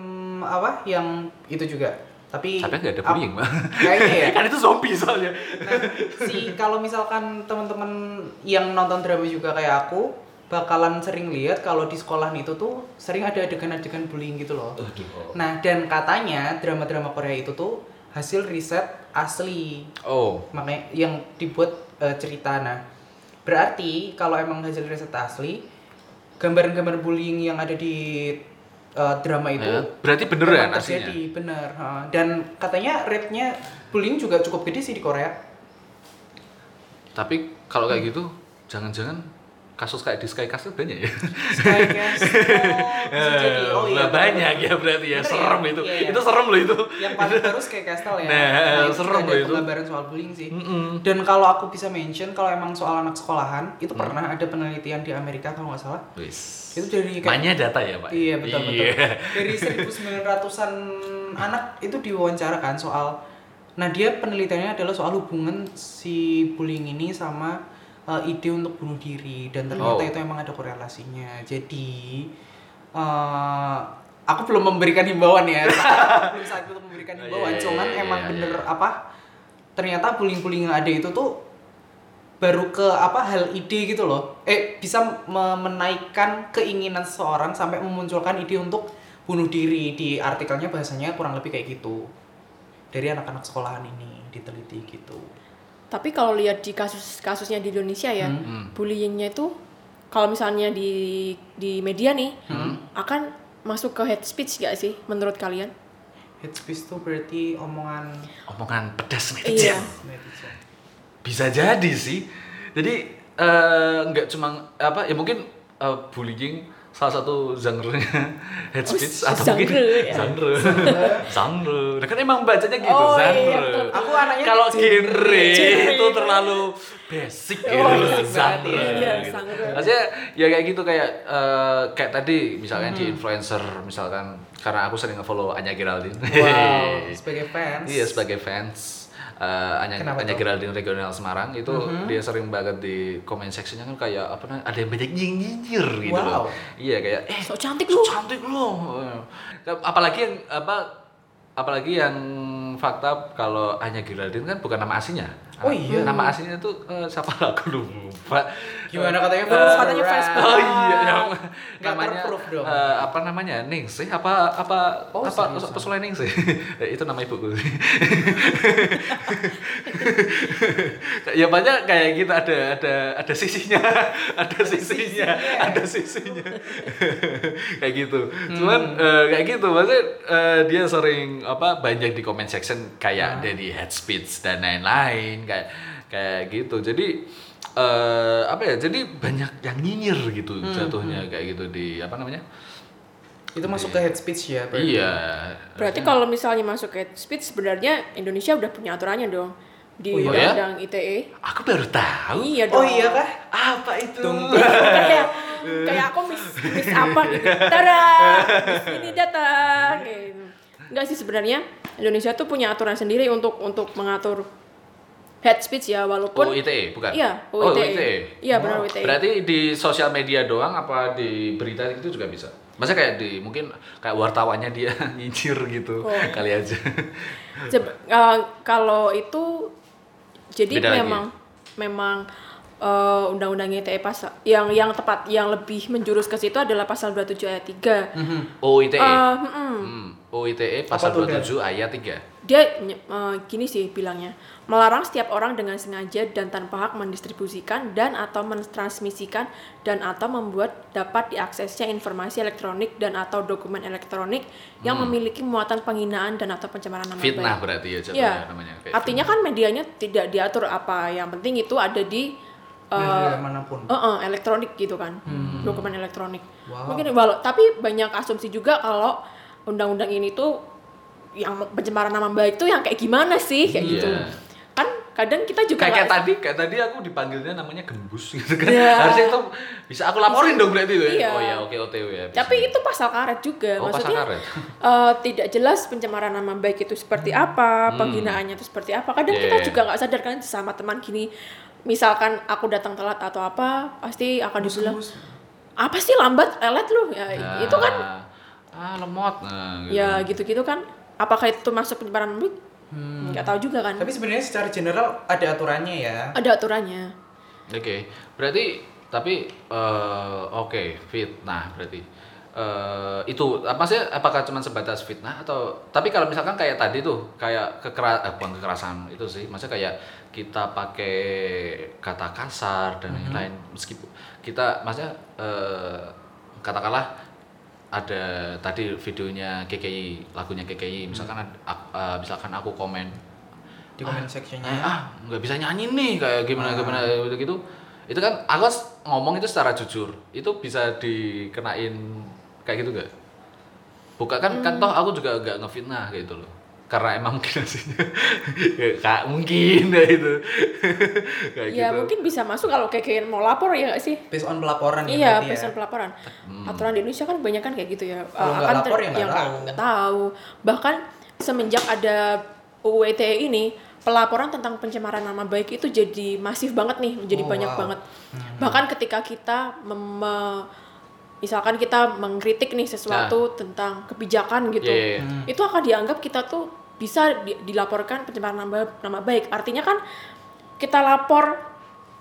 [SPEAKER 2] apa yang itu juga. Tapi
[SPEAKER 1] tapi nggak ada
[SPEAKER 2] ap-
[SPEAKER 1] bullying mah
[SPEAKER 2] Kayaknya ya.
[SPEAKER 1] kan itu zombie soalnya
[SPEAKER 2] Nah, si kalau misalkan teman-teman yang nonton drama juga kayak aku bakalan sering lihat kalau di sekolah itu tuh sering ada adegan-adegan bullying gitu loh.
[SPEAKER 1] Oh.
[SPEAKER 2] Nah, dan katanya drama-drama Korea itu tuh hasil riset asli.
[SPEAKER 1] oh
[SPEAKER 2] Makanya yang dibuat eh, cerita nah. Berarti kalau emang hasil riset asli, gambaran-gambar bullying yang ada di eh, drama itu
[SPEAKER 1] Nah, berarti beneran
[SPEAKER 2] emang
[SPEAKER 1] aslinya?
[SPEAKER 2] terjadi, bener. ha. Dan katanya rate-nya bullying juga cukup gede sih di Korea.
[SPEAKER 1] tapi kalau kayak gitu jangan-jangan kasus kayak di Skycast itu banyak ya
[SPEAKER 2] Kayak guys, oh, bisa jadi. Oh
[SPEAKER 1] Eh, Lah,
[SPEAKER 2] iya.
[SPEAKER 1] banyak ya berarti ya
[SPEAKER 2] Bener
[SPEAKER 1] serem
[SPEAKER 2] ya?
[SPEAKER 1] itu
[SPEAKER 2] Iya, iya.
[SPEAKER 1] itu serem loh itu
[SPEAKER 2] yang paling harus kayak Castle ya.
[SPEAKER 1] Nah,
[SPEAKER 2] itu
[SPEAKER 1] serem
[SPEAKER 2] ada
[SPEAKER 1] loh itu.
[SPEAKER 2] Penggambaran soal bullying sih. Dan kalau aku bisa mention kalau emang soal anak sekolahan itu
[SPEAKER 1] Hmm.
[SPEAKER 2] pernah ada penelitian di Amerika kalau nggak salah.
[SPEAKER 1] Wis.
[SPEAKER 2] Itu dari kayak
[SPEAKER 1] banyak data ya pak
[SPEAKER 2] Iya betul
[SPEAKER 1] Iya.
[SPEAKER 2] betul. Dari 1900-an anak itu diwawancara kan soal Nah, dia penelitiannya adalah soal hubungan si bullying ini sama uh, ide untuk bunuh diri dan
[SPEAKER 1] Oh.
[SPEAKER 2] ternyata itu emang ada korelasinya. Jadi uh, aku belum memberikan himbauan ya. belum saat untuk memberikan
[SPEAKER 1] Oh, iya,
[SPEAKER 2] himbauan,
[SPEAKER 1] iya,
[SPEAKER 2] cuman
[SPEAKER 1] iya,
[SPEAKER 2] emang
[SPEAKER 1] iya,
[SPEAKER 2] bener
[SPEAKER 1] iya.
[SPEAKER 2] apa? Ternyata bullying-bullying yang ada itu tuh baru ke apa hal ide gitu loh eh bisa me- menaikkan keinginan seseorang sampai memunculkan ide untuk bunuh diri di artikelnya bahasanya kurang lebih kayak gitu dari anak-anak sekolahan ini diteliti gitu
[SPEAKER 3] Tapi kalau lihat di kasus-kasusnya di Indonesia ya,
[SPEAKER 1] Hmm.
[SPEAKER 3] bullyingnya itu kalau misalnya di di media nih
[SPEAKER 2] Hmm.
[SPEAKER 3] akan masuk ke hate speech gak sih menurut kalian?
[SPEAKER 2] hate speech tuh berarti omongan
[SPEAKER 1] omongan pedas netizen
[SPEAKER 3] Iya.
[SPEAKER 2] netizen
[SPEAKER 1] bisa jadi sih jadi eh, nggak cuma apa ya mungkin eh, bullying salah satu genre-nya head
[SPEAKER 3] Oh,
[SPEAKER 1] speech atau
[SPEAKER 3] genre,
[SPEAKER 1] mungkin
[SPEAKER 3] ya.
[SPEAKER 1] genre genre nah, kan emang bacanya gitu
[SPEAKER 3] Oh, iya,
[SPEAKER 1] genre
[SPEAKER 3] betul.
[SPEAKER 2] Aku anaknya
[SPEAKER 1] kalau
[SPEAKER 2] genre.
[SPEAKER 1] genre
[SPEAKER 3] Genre.
[SPEAKER 1] itu terlalu basic gitu
[SPEAKER 2] Oh, basic banget,
[SPEAKER 1] genre
[SPEAKER 2] iya.
[SPEAKER 3] Iya,
[SPEAKER 1] gitu.
[SPEAKER 3] genre.
[SPEAKER 1] maksudnya ya kayak gitu kayak eh, kayak tadi misalnya
[SPEAKER 2] Hmm.
[SPEAKER 1] di influencer misalkan karena aku sering nge-follow Anya Geraldine
[SPEAKER 2] Wow, sebagai fans.
[SPEAKER 1] Iya sebagai fans eh, Anya,
[SPEAKER 2] Kenapa
[SPEAKER 1] Anya
[SPEAKER 2] tuh? Hmm.
[SPEAKER 1] Geraldine Regional Semarang itu dia sering banget di comment sectionnya kan kayak apa namanya ada yang banyak nyinyir gitu
[SPEAKER 2] Wow.
[SPEAKER 1] loh. Iya kayak eh
[SPEAKER 3] So cantik
[SPEAKER 1] so
[SPEAKER 3] lu.
[SPEAKER 1] cantik lu. Apalagi yang apa apalagi yang fakta kalau Anya Geraldine kan bukan nama aslinya.
[SPEAKER 2] Oh iya.
[SPEAKER 1] Nama aslinya tuh eh, siapa aku lupa.
[SPEAKER 2] Gimana
[SPEAKER 1] Eh,
[SPEAKER 2] katanya? First
[SPEAKER 3] katanya first
[SPEAKER 2] round.
[SPEAKER 3] round.
[SPEAKER 1] Oh iya, yang-
[SPEAKER 2] Nggak terproof dong.
[SPEAKER 1] eh, apa namanya? Ningsih apa apa
[SPEAKER 2] Oh,
[SPEAKER 1] apa
[SPEAKER 2] seriusan?
[SPEAKER 1] apa Sule Ningsih? Eh, itu nama ibuku. ya banyak kayak gitu ada ada ada sisinya, ada sisinya, ada sisinya. kayak gitu. Cuman eh, kayak gitu maksudnya eh, dia sering apa banyak di comment section kayak dari head speech dan lain-lain kayak kayak gitu. Jadi eh apa ya jadi banyak yang nyinyir gitu jatuhnya kayak gitu di apa namanya
[SPEAKER 2] Itu masuk ke head speech ya. berarti?
[SPEAKER 1] iya
[SPEAKER 3] Berarti kalau misalnya masuk ke speech sebenarnya Indonesia udah punya aturannya dong di
[SPEAKER 2] Oh, iya?
[SPEAKER 3] Undang-Undang ITE.
[SPEAKER 1] aku baru tahu
[SPEAKER 3] Iya dong.
[SPEAKER 2] Oh iya kah?
[SPEAKER 1] apa itu
[SPEAKER 3] kayak kayak aku miss miss apa gitu. Tada, miss ini datang. gitu. Enggak sih sebenarnya Indonesia tuh punya aturan sendiri untuk untuk mengatur head speech ya walaupun
[SPEAKER 1] UITE bukan
[SPEAKER 3] iya
[SPEAKER 1] E oh
[SPEAKER 3] UITE.
[SPEAKER 1] UITE
[SPEAKER 3] Iya benar UITE.
[SPEAKER 1] Oh, E. berarti di sosial media doang apa di berita itu juga bisa masa kayak di mungkin kayak wartawannya dia nyinyir gitu
[SPEAKER 3] Oh.
[SPEAKER 1] kali aja
[SPEAKER 3] Seb- eh, kalau itu jadi
[SPEAKER 1] Beda lagi ya?
[SPEAKER 3] memang memang eh, undang-undang ITE pasal yang yang tepat yang lebih menjurus ke situ adalah pasal 27 ayat 3.
[SPEAKER 1] Mm-hmm. UITE
[SPEAKER 3] Eh, mm-mm.
[SPEAKER 1] E. Hmm, UITE pasal
[SPEAKER 2] Apa tuh, Dan?
[SPEAKER 1] 27 ayat 3
[SPEAKER 3] Dia ny- eh, gini sih bilangnya, melarang setiap orang dengan sengaja dan tanpa hak mendistribusikan dan atau mentransmisikan dan atau membuat dapat diaksesnya informasi elektronik dan atau dokumen elektronik yang memiliki muatan penghinaan dan atau pencemaran nama
[SPEAKER 1] Hmm. fitnah
[SPEAKER 3] baik.
[SPEAKER 1] berarti ya jatuhnya
[SPEAKER 3] Iya.
[SPEAKER 1] namanya kayak
[SPEAKER 3] Artinya kan medianya tidak diatur apa, yang penting itu ada di eh,
[SPEAKER 2] Media Iya, manapun.
[SPEAKER 3] eh, eh, elektronik gitu kan.
[SPEAKER 1] Hmm.
[SPEAKER 3] Dokumen elektronik.
[SPEAKER 2] Wow.
[SPEAKER 3] Mungkin walau tapi banyak asumsi juga kalau undang-undang ini tuh yang pencemaran nama baik tuh yang kayak gimana sih kayak gitu.
[SPEAKER 1] Iya.
[SPEAKER 3] Kan kadang kita juga
[SPEAKER 1] kayak kayak
[SPEAKER 3] nggak-
[SPEAKER 1] tadi kayak tadi aku dipanggilnya namanya gembus gitu kan
[SPEAKER 3] Iya.
[SPEAKER 1] harusnya itu bisa aku laporin dong berarti itu ya
[SPEAKER 3] Iya.
[SPEAKER 1] oh ya oke OTW ya bisa.
[SPEAKER 3] tapi itu pasal karet juga
[SPEAKER 1] Oh, pasal
[SPEAKER 3] maksudnya
[SPEAKER 1] karet.
[SPEAKER 3] eh, tidak jelas pencemaran nama baik itu seperti
[SPEAKER 1] Hmm.
[SPEAKER 3] apa penghinaannya itu seperti apa kadang
[SPEAKER 1] Yeah,
[SPEAKER 3] kita
[SPEAKER 1] yeah.
[SPEAKER 3] juga nggak sadar kan sama teman gini misalkan aku datang telat atau apa pasti akan dibilang apa sih lambat lelet lu ya,
[SPEAKER 1] Nah,
[SPEAKER 3] itu kan
[SPEAKER 1] ah lemot nah, gitu.
[SPEAKER 3] ya gitu-gitu kan apakah itu masuk pencemaran nama baik nggak tahu juga kan
[SPEAKER 2] Hmm. Tapi sebenarnya secara general ada aturannya ya.
[SPEAKER 3] ada aturannya
[SPEAKER 1] Oke, berarti tapi eh, oke fitnah berarti Eh, itu apa sih? Apakah cuma sebatas fitnah atau tapi kalau misalkan kayak tadi tuh kayak kekera eh, bukan kekerasan itu sih, maksudnya kayak kita pakai kata kasar dan lain-lain meskipun kita maksudnya eh, katakanlah ada tadi videonya KKI lagunya KKI misalkan ad- ak- eh, misalkan aku komen
[SPEAKER 2] Di comment sectionnya.
[SPEAKER 1] Eh, ah nggak bisa nyanyi nih kayak gimana gimana gitu gitu itu kan aku s- ngomong itu secara jujur itu bisa dikenain kayak gitu gak bukan kan kan toh aku juga nggak ngefitnah kayak gitu loh karena emang mungkin hasilnya kak mungkin ya itu kayak
[SPEAKER 3] ya
[SPEAKER 1] gitu
[SPEAKER 3] mungkin bisa masuk kalau kayak mau lapor ya nggak sih
[SPEAKER 2] Based on pelaporan ya
[SPEAKER 3] Iya,
[SPEAKER 2] berarti
[SPEAKER 3] pesan
[SPEAKER 2] ya.
[SPEAKER 3] pelaporan. Aturan di Indonesia kan banyak kan kayak gitu ya.
[SPEAKER 2] Kalau
[SPEAKER 3] Eh,
[SPEAKER 2] nggak
[SPEAKER 3] ter-
[SPEAKER 2] lapor ya nggak
[SPEAKER 3] yang
[SPEAKER 2] tahu.
[SPEAKER 3] nggak tahu. Bahkan semenjak ada UU ITE ini, pelaporan tentang pencemaran nama baik itu jadi masif banget nih, jadi
[SPEAKER 2] Oh,
[SPEAKER 3] banyak
[SPEAKER 2] wow.
[SPEAKER 3] banget. Bahkan ketika kita mem- me- misalkan kita mengkritik nih
[SPEAKER 2] Nah.
[SPEAKER 3] sesuatu tentang kebijakan gitu.
[SPEAKER 1] Iya, iya.
[SPEAKER 3] Itu akan dianggap kita tuh bisa di- dilaporkan pencemaran nama nama baik. Artinya kan kita lapor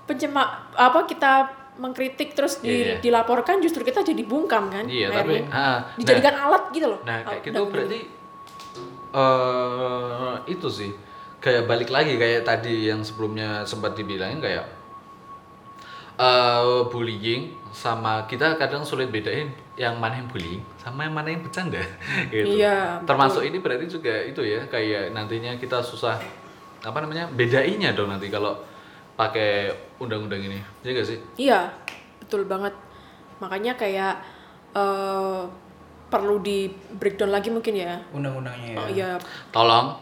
[SPEAKER 3] pencema apa kita mengkritik terus di-
[SPEAKER 1] Iya, iya.
[SPEAKER 3] dilaporkan justru kita jadi bungkam kan
[SPEAKER 1] Iya,
[SPEAKER 3] akhirnya.
[SPEAKER 1] tapi- ah,
[SPEAKER 3] dijadikan alat gitu loh
[SPEAKER 1] Nah, kayak
[SPEAKER 3] Alat
[SPEAKER 1] gitu
[SPEAKER 3] undang-undang.
[SPEAKER 1] berarti eh itu sih kayak balik lagi kayak tadi yang sebelumnya sempat dibilangin kayak eh bullying sama kita kadang sulit bedain yang mana yang bullying sama yang mana yang bercanda gitu.
[SPEAKER 3] Iya,
[SPEAKER 1] Termasuk ini berarti juga itu ya kayak nantinya kita susah apa namanya bedainya dong nanti kalau pakai undang-undang ini. Iya gak sih?
[SPEAKER 3] iya betul banget makanya kayak eh, perlu di breakdown lagi mungkin ya.
[SPEAKER 2] undang-undangnya ya.
[SPEAKER 3] Oh iya.
[SPEAKER 1] Tolong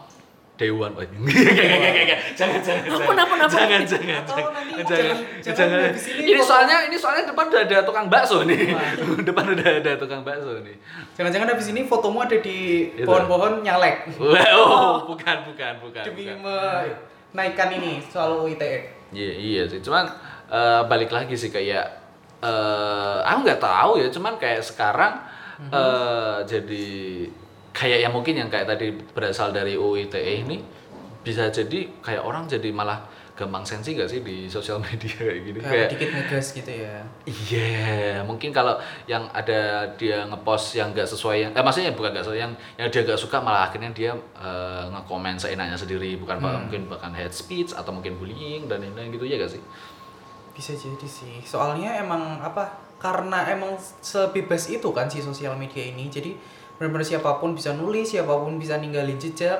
[SPEAKER 1] Dewan. Oh, enggak, enggak, enggak, enggak, enggak. Jangan, jangan, jangan.
[SPEAKER 3] Kenapa, kenapa?
[SPEAKER 1] Jangan, jangan,
[SPEAKER 2] Atau
[SPEAKER 1] jangan.
[SPEAKER 2] nanti
[SPEAKER 1] Oh, Jangan,
[SPEAKER 2] jangan-
[SPEAKER 1] jangan.
[SPEAKER 2] jangan habis ini
[SPEAKER 1] Ini
[SPEAKER 2] kok-
[SPEAKER 1] soalnya, ini soalnya depan udah ada tukang bakso nih. depan udah ada tukang bakso nih.
[SPEAKER 2] Jangan-jangan habis ini fotomu ada di
[SPEAKER 1] Itu.
[SPEAKER 2] pohon-pohon nyalek
[SPEAKER 1] Wah, Oh, bukan, bukan, bukan.
[SPEAKER 2] demi
[SPEAKER 1] bukan.
[SPEAKER 2] menaikkan ini soal ITE.
[SPEAKER 1] Iya iya sih, cuman eh, balik lagi sih kayak eh aku nggak tahu ya, cuman kayak sekarang eh, jadi kayak yang mungkin yang kayak tadi berasal dari UITE E ini bisa jadi kayak orang jadi malah gampang sensi gak sih di sosial media kayak gini
[SPEAKER 2] Kayak
[SPEAKER 1] kayak
[SPEAKER 2] dikit ngegas gitu ya.
[SPEAKER 1] Iya, mungkin kalau yang ada dia ngepost yang gak sesuai yang, eh, maksudnya bukan gak sesuai yang yang dia gak suka malah akhirnya dia eh, ngekomen seenaknya sendiri, bukan bah- mungkin bahkan hate speech atau mungkin bullying dan lain-lain gitu ya gak sih?
[SPEAKER 2] Bisa jadi sih. Soalnya emang apa? Karena emang sebebas itu kan si sosial media ini. Jadi benar-benar siapapun bisa nulis, siapapun bisa ninggalin jejak.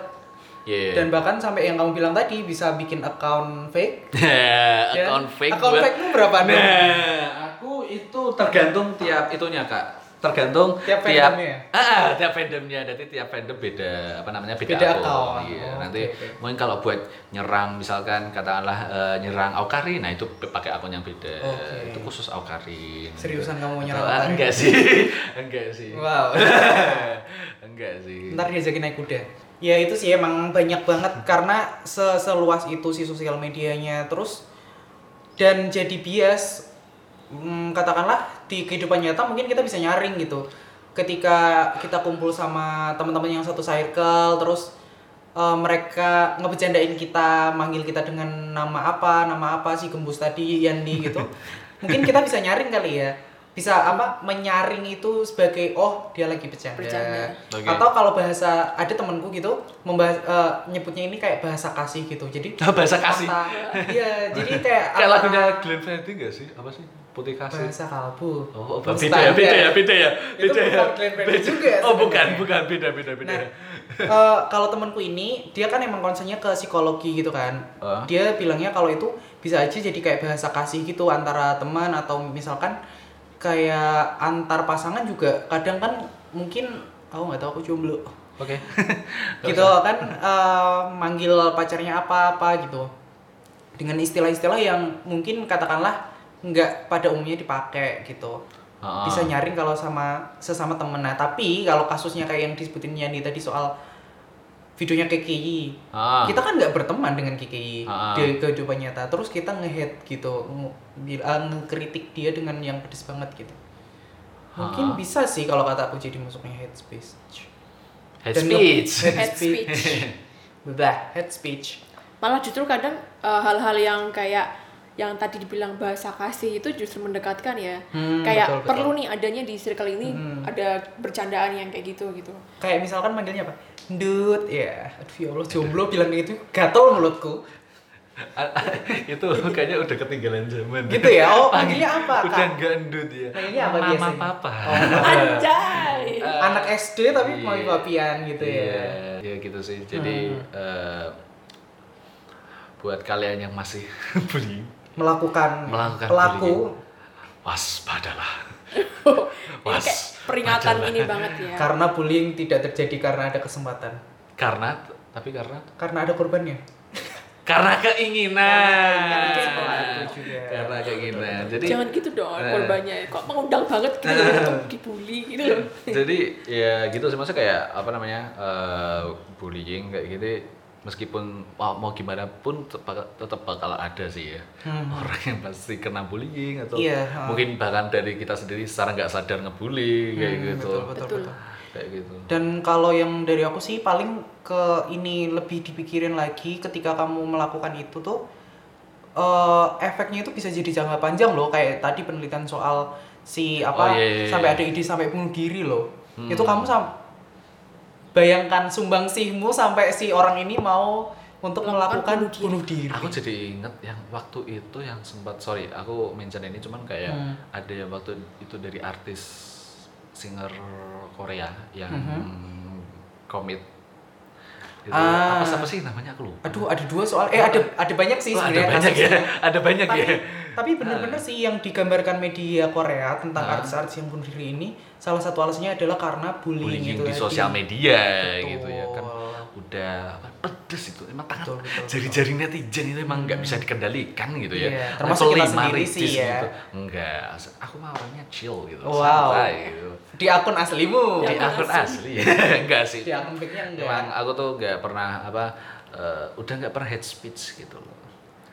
[SPEAKER 1] Iya.
[SPEAKER 2] Dan bahkan sampai yang kamu bilang tadi bisa bikin account fake. dan ya,
[SPEAKER 1] account fake
[SPEAKER 2] Account
[SPEAKER 1] buat-
[SPEAKER 2] fake-mu berapa Nom?
[SPEAKER 1] Nah, aku itu tergantung tiap itunya kak. Tergantung
[SPEAKER 2] Tiap fandomnya?
[SPEAKER 1] Ah, ah, tiap fandomnya. Nanti tiap fandom beda apa namanya beda,
[SPEAKER 2] Beda
[SPEAKER 1] akun.
[SPEAKER 2] account.
[SPEAKER 1] Iya.
[SPEAKER 2] Oh,
[SPEAKER 1] nanti
[SPEAKER 2] oke, oke.
[SPEAKER 1] mungkin kalau buat nyerang misalkan katakanlah eh, nyerang Aukari, nah itu pakai akun yang beda.
[SPEAKER 2] Oke.
[SPEAKER 1] Itu khusus Aukari.
[SPEAKER 2] Seriusan kamu mau
[SPEAKER 1] Atau-
[SPEAKER 2] nyerang
[SPEAKER 1] ah,
[SPEAKER 2] Aukari?
[SPEAKER 1] Enggak sih, enggak sih.
[SPEAKER 2] Wow.
[SPEAKER 1] enggak sih.
[SPEAKER 2] Ntar diajakin naik kuda. Ya itu sih emang banyak banget karena se- seluas itu si sosial medianya terus dan jadi bias Hmm, katakanlah di kehidupan nyata mungkin kita bisa nyaring gitu. Ketika kita kumpul sama teman-teman yang satu circle terus eh, mereka ngebecandain kita, manggil kita dengan nama apa, nama apa si gembus tadi, Yandi gitu. mungkin kita bisa nyaring kali ya. Bisa apa menyaring itu sebagai oh dia lagi bercanda.
[SPEAKER 3] Bercanda.
[SPEAKER 1] Oke.
[SPEAKER 2] Atau kalau bahasa ada temanku gitu membahas eh, nyebutnya ini kayak bahasa kasih gitu. Jadi
[SPEAKER 1] Oh, Bahasa kasih.
[SPEAKER 2] kata- Iya, jadi kayak
[SPEAKER 1] Kayak
[SPEAKER 2] apa-
[SPEAKER 1] lagunya Glenn Fredly enggak sih? Apa sih? Putih kasih.
[SPEAKER 2] bahasa kalbu.
[SPEAKER 1] Oh,
[SPEAKER 2] Terus
[SPEAKER 1] beda ya,
[SPEAKER 2] standar.
[SPEAKER 1] beda ya, beda ya.
[SPEAKER 2] Itu
[SPEAKER 1] beda ya.
[SPEAKER 2] bukan Glenn Fredly
[SPEAKER 1] Beda.
[SPEAKER 2] juga
[SPEAKER 1] Oh, bukan,
[SPEAKER 2] sebenarnya.
[SPEAKER 1] bukan, beda, beda, beda.
[SPEAKER 2] Nah, eh, kalau temanku ini dia kan emang concernnya ke psikologi gitu kan.
[SPEAKER 1] Ah.
[SPEAKER 2] Dia bilangnya kalau itu bisa aja jadi kayak bahasa kasih gitu antara teman atau misalkan kayak antar pasangan juga kadang kan mungkin aku nggak tahu aku jomblo
[SPEAKER 1] Oke.
[SPEAKER 2] gitu kan eh, manggil pacarnya apa apa gitu dengan istilah-istilah yang mungkin katakanlah nggak pada umumnya dipakai gitu
[SPEAKER 1] Ah.
[SPEAKER 2] bisa nyaring kalau sama sesama temen nah tapi kalau kasusnya kayak yang disebutin Yani tadi soal videonya KKI
[SPEAKER 1] Ah.
[SPEAKER 2] kita kan nggak berteman dengan KKI
[SPEAKER 1] Ah.
[SPEAKER 2] di kehidupan nyata terus kita ngehead gitu nge- bil- ah, ngekritik dia dengan yang pedes banget gitu
[SPEAKER 1] Ah.
[SPEAKER 2] mungkin bisa sih kalau kata aku jadi masuknya head speech
[SPEAKER 1] Head
[SPEAKER 2] Dan nge-
[SPEAKER 1] speech.
[SPEAKER 2] head
[SPEAKER 3] Head
[SPEAKER 2] speech
[SPEAKER 3] speech.
[SPEAKER 2] Bah, head speech
[SPEAKER 3] Malah justru kadang eh, hal-hal yang kayak yang tadi dibilang bahasa kasih itu justru mendekatkan ya.
[SPEAKER 2] Hmm,
[SPEAKER 3] kayak
[SPEAKER 2] betul, betul.
[SPEAKER 3] perlu nih adanya di circle ini
[SPEAKER 1] Hmm.
[SPEAKER 3] ada bercandaan yang kayak gitu gitu.
[SPEAKER 2] kayak misalkan manggilnya apa dud ya aduh ya allah jomblo bilang itu gatel mulutku
[SPEAKER 1] itu kayaknya udah ketinggalan zaman.
[SPEAKER 2] Gitu ya? Oh, panggilnya apa, Kak?
[SPEAKER 1] Udah gandut ya.
[SPEAKER 2] Manggilnya apa
[SPEAKER 1] Mama,
[SPEAKER 2] biasanya? Oh,
[SPEAKER 1] papa.
[SPEAKER 3] Anjay.
[SPEAKER 1] Eh,
[SPEAKER 2] anak SD tapi mau
[SPEAKER 1] Iya.
[SPEAKER 2] papian gitu
[SPEAKER 1] Iya,
[SPEAKER 2] ya
[SPEAKER 1] ya gitu sih. Jadi
[SPEAKER 2] Hmm.
[SPEAKER 1] eh, buat kalian yang masih bullying,
[SPEAKER 2] melakukan,
[SPEAKER 1] melakukan
[SPEAKER 2] pelaku
[SPEAKER 1] bullying, waspadalah.
[SPEAKER 3] Ini kayak peringatan
[SPEAKER 1] waspadalah.
[SPEAKER 3] ini banget ya.
[SPEAKER 1] Kan,
[SPEAKER 2] karena bullying tidak terjadi karena ada kesempatan
[SPEAKER 1] Karena tapi karena
[SPEAKER 2] karena ada korbannya
[SPEAKER 1] karena keinginan
[SPEAKER 2] Karena keinginan.
[SPEAKER 1] karena keinginan jadi
[SPEAKER 3] Jangan gitu dong
[SPEAKER 1] Eh.
[SPEAKER 3] korbannya. Kok mengundang banget gitu untuk dibully gitu loh.
[SPEAKER 1] jadi ya gitu sih maksudnya kayak apa namanya eh, bullying kayak gitu meskipun mau, mau gimana pun tetap, tetap bakal ada sih ya orang yang pasti kena bullying atau
[SPEAKER 2] Hmm. Iya, ha.
[SPEAKER 1] mungkin bahkan dari kita sendiri secara nggak sadar ngebully kayak gitu
[SPEAKER 2] Hmm, betul betul,
[SPEAKER 3] Betul.
[SPEAKER 2] betul.
[SPEAKER 1] kayak gitu
[SPEAKER 2] dan kalau yang dari aku sih paling ke ini lebih dipikirin lagi ketika kamu melakukan itu tuh eh, efeknya itu bisa jadi jangka panjang loh kayak tadi penelitian soal si apa
[SPEAKER 1] Oh, iya, iya, iya.
[SPEAKER 2] sampai
[SPEAKER 1] Hmm.
[SPEAKER 2] ada ide sampai bunuh diri loh itu kamu sam bayangkan sumbangsihmu sampai si orang ini mau untuk melakukan
[SPEAKER 3] Melakukan
[SPEAKER 2] bunuh diri,
[SPEAKER 1] Aku jadi inget yang waktu itu yang sempat sorry, aku mention ini cuman kayak
[SPEAKER 2] Hmm.
[SPEAKER 1] ada yang waktu itu dari artis singer Korea yang komit. Itu,
[SPEAKER 2] Mm-hmm. Ah.
[SPEAKER 1] Apa siapa sih namanya aku lupa.
[SPEAKER 2] aduh ada dua soal eh ada ada banyak sih
[SPEAKER 1] Wah, ada
[SPEAKER 2] sebenarnya
[SPEAKER 1] banyak ya,
[SPEAKER 2] kasusnya.
[SPEAKER 1] ada banyak
[SPEAKER 2] tapi
[SPEAKER 1] ya.
[SPEAKER 2] Tapi bener-bener sih yang digambarkan media Korea tentang
[SPEAKER 1] Ah.
[SPEAKER 2] artis-artis yang bunuh diri ini salah satu alasannya adalah karena bullying,
[SPEAKER 1] bullying
[SPEAKER 2] itu
[SPEAKER 1] di
[SPEAKER 2] ya,
[SPEAKER 1] sosial media gitu ya kan
[SPEAKER 2] Betul.
[SPEAKER 1] udah apa, pedes itu emang
[SPEAKER 2] Betul,
[SPEAKER 1] tangan
[SPEAKER 2] betul, betul.
[SPEAKER 1] jari-jari netizen itu emang nggak bisa dikendalikan gitu ya
[SPEAKER 2] Iya,
[SPEAKER 1] Level
[SPEAKER 2] termasuk kita
[SPEAKER 1] lima
[SPEAKER 2] sendiri sih
[SPEAKER 1] rigis
[SPEAKER 2] ya.
[SPEAKER 1] gitu. enggak aku mah orangnya chill gitu
[SPEAKER 2] Wow.
[SPEAKER 1] santai gitu
[SPEAKER 2] Di akun
[SPEAKER 1] di
[SPEAKER 2] aslimu.
[SPEAKER 3] Di akun
[SPEAKER 1] akun asli enggak sih
[SPEAKER 3] Iya.
[SPEAKER 2] Di akun fake-nya enggak.
[SPEAKER 1] emang aku tuh nggak pernah apa eh, udah nggak pernah hate speech gitu loh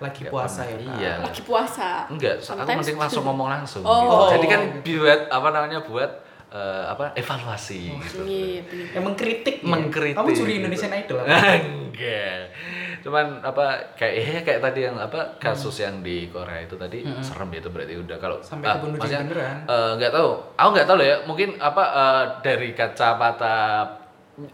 [SPEAKER 2] Lagi
[SPEAKER 1] Nggak
[SPEAKER 2] puasa ya.
[SPEAKER 1] pernah.
[SPEAKER 2] Kak?
[SPEAKER 1] iya
[SPEAKER 3] lagi puasa
[SPEAKER 1] Enggak, so- aku
[SPEAKER 3] Sometimes-
[SPEAKER 1] mending langsung ngomong langsung.
[SPEAKER 3] Oh.
[SPEAKER 1] Gitu. Jadi kan buat apa namanya buat eh, apa evaluasi gitu.
[SPEAKER 3] Iya, bener.
[SPEAKER 2] Ya mengkritik. ya.
[SPEAKER 1] Mengkritik.
[SPEAKER 2] Kamu
[SPEAKER 1] gitu.
[SPEAKER 2] juri Indonesian Idol
[SPEAKER 3] Iya.
[SPEAKER 2] apa?
[SPEAKER 1] Enggak. Cuman apa kayak eh, kayak tadi yang apa kasus yang di Korea itu tadi serem ya itu berarti udah kalau
[SPEAKER 2] Hmm. Sampai
[SPEAKER 1] ah,
[SPEAKER 2] kebunuh diri
[SPEAKER 1] maksudnya,
[SPEAKER 2] beneran.
[SPEAKER 1] eh, enggak tahu. Aku enggak tahu loh ya, mungkin apa eh, dari kacamata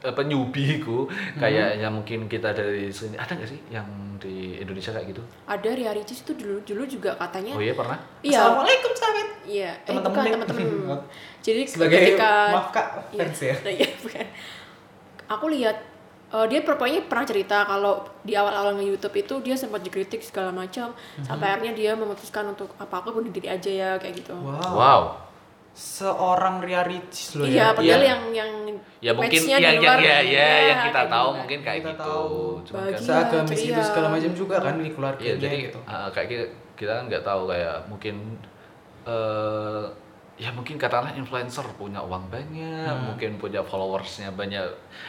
[SPEAKER 1] eh, penyubiku
[SPEAKER 2] Hmm.
[SPEAKER 1] kayaknya mungkin kita dari sini ada nggak sih yang di Indonesia kayak gitu?
[SPEAKER 3] ada Ria Ricis itu dulu dulu juga katanya
[SPEAKER 1] Oh iya pernah.
[SPEAKER 3] iya
[SPEAKER 2] Assalamualaikum sahabat.
[SPEAKER 3] iya eh,
[SPEAKER 2] Teman-teman
[SPEAKER 3] bukan
[SPEAKER 2] deh.
[SPEAKER 3] teman-teman jadi
[SPEAKER 2] Sebagai
[SPEAKER 3] ketika
[SPEAKER 2] maaf kak
[SPEAKER 3] iya,
[SPEAKER 2] fans ya.
[SPEAKER 3] iya, bukan. aku lihat eh, dia per- pokoknya pernah cerita kalau di awal-awal nge YouTube itu dia sempat dikritik segala macam
[SPEAKER 2] Mhm.
[SPEAKER 3] sampai akhirnya dia memutuskan untuk apa aku bunuh diri aja ya kayak gitu
[SPEAKER 2] Wow.
[SPEAKER 1] Wow.
[SPEAKER 2] Seorang Ria Ricis loh ya.
[SPEAKER 3] iya padahal
[SPEAKER 1] Iya.
[SPEAKER 3] yang yang
[SPEAKER 1] ya mungkin
[SPEAKER 3] match-nya
[SPEAKER 1] yang
[SPEAKER 3] di
[SPEAKER 1] yang
[SPEAKER 3] luar,
[SPEAKER 1] ya, ya,
[SPEAKER 3] iya,
[SPEAKER 1] yang kita
[SPEAKER 3] kayak
[SPEAKER 1] tahu
[SPEAKER 3] gitu.
[SPEAKER 1] mungkin kayak
[SPEAKER 2] Kita
[SPEAKER 1] gitu
[SPEAKER 2] tahu.
[SPEAKER 1] Cuman kan-
[SPEAKER 3] Bagi-
[SPEAKER 2] Seagamis
[SPEAKER 3] Iya,
[SPEAKER 2] itu segala
[SPEAKER 3] iya.
[SPEAKER 2] macam juga kan di keluarga
[SPEAKER 1] Iya, jadi
[SPEAKER 2] gitu.
[SPEAKER 1] uh, kayak kita, kita kan nggak tahu kayak mungkin eh ya mungkin katakanlah influencer punya uang banyak,
[SPEAKER 2] Hmm.
[SPEAKER 1] mungkin punya followersnya banyak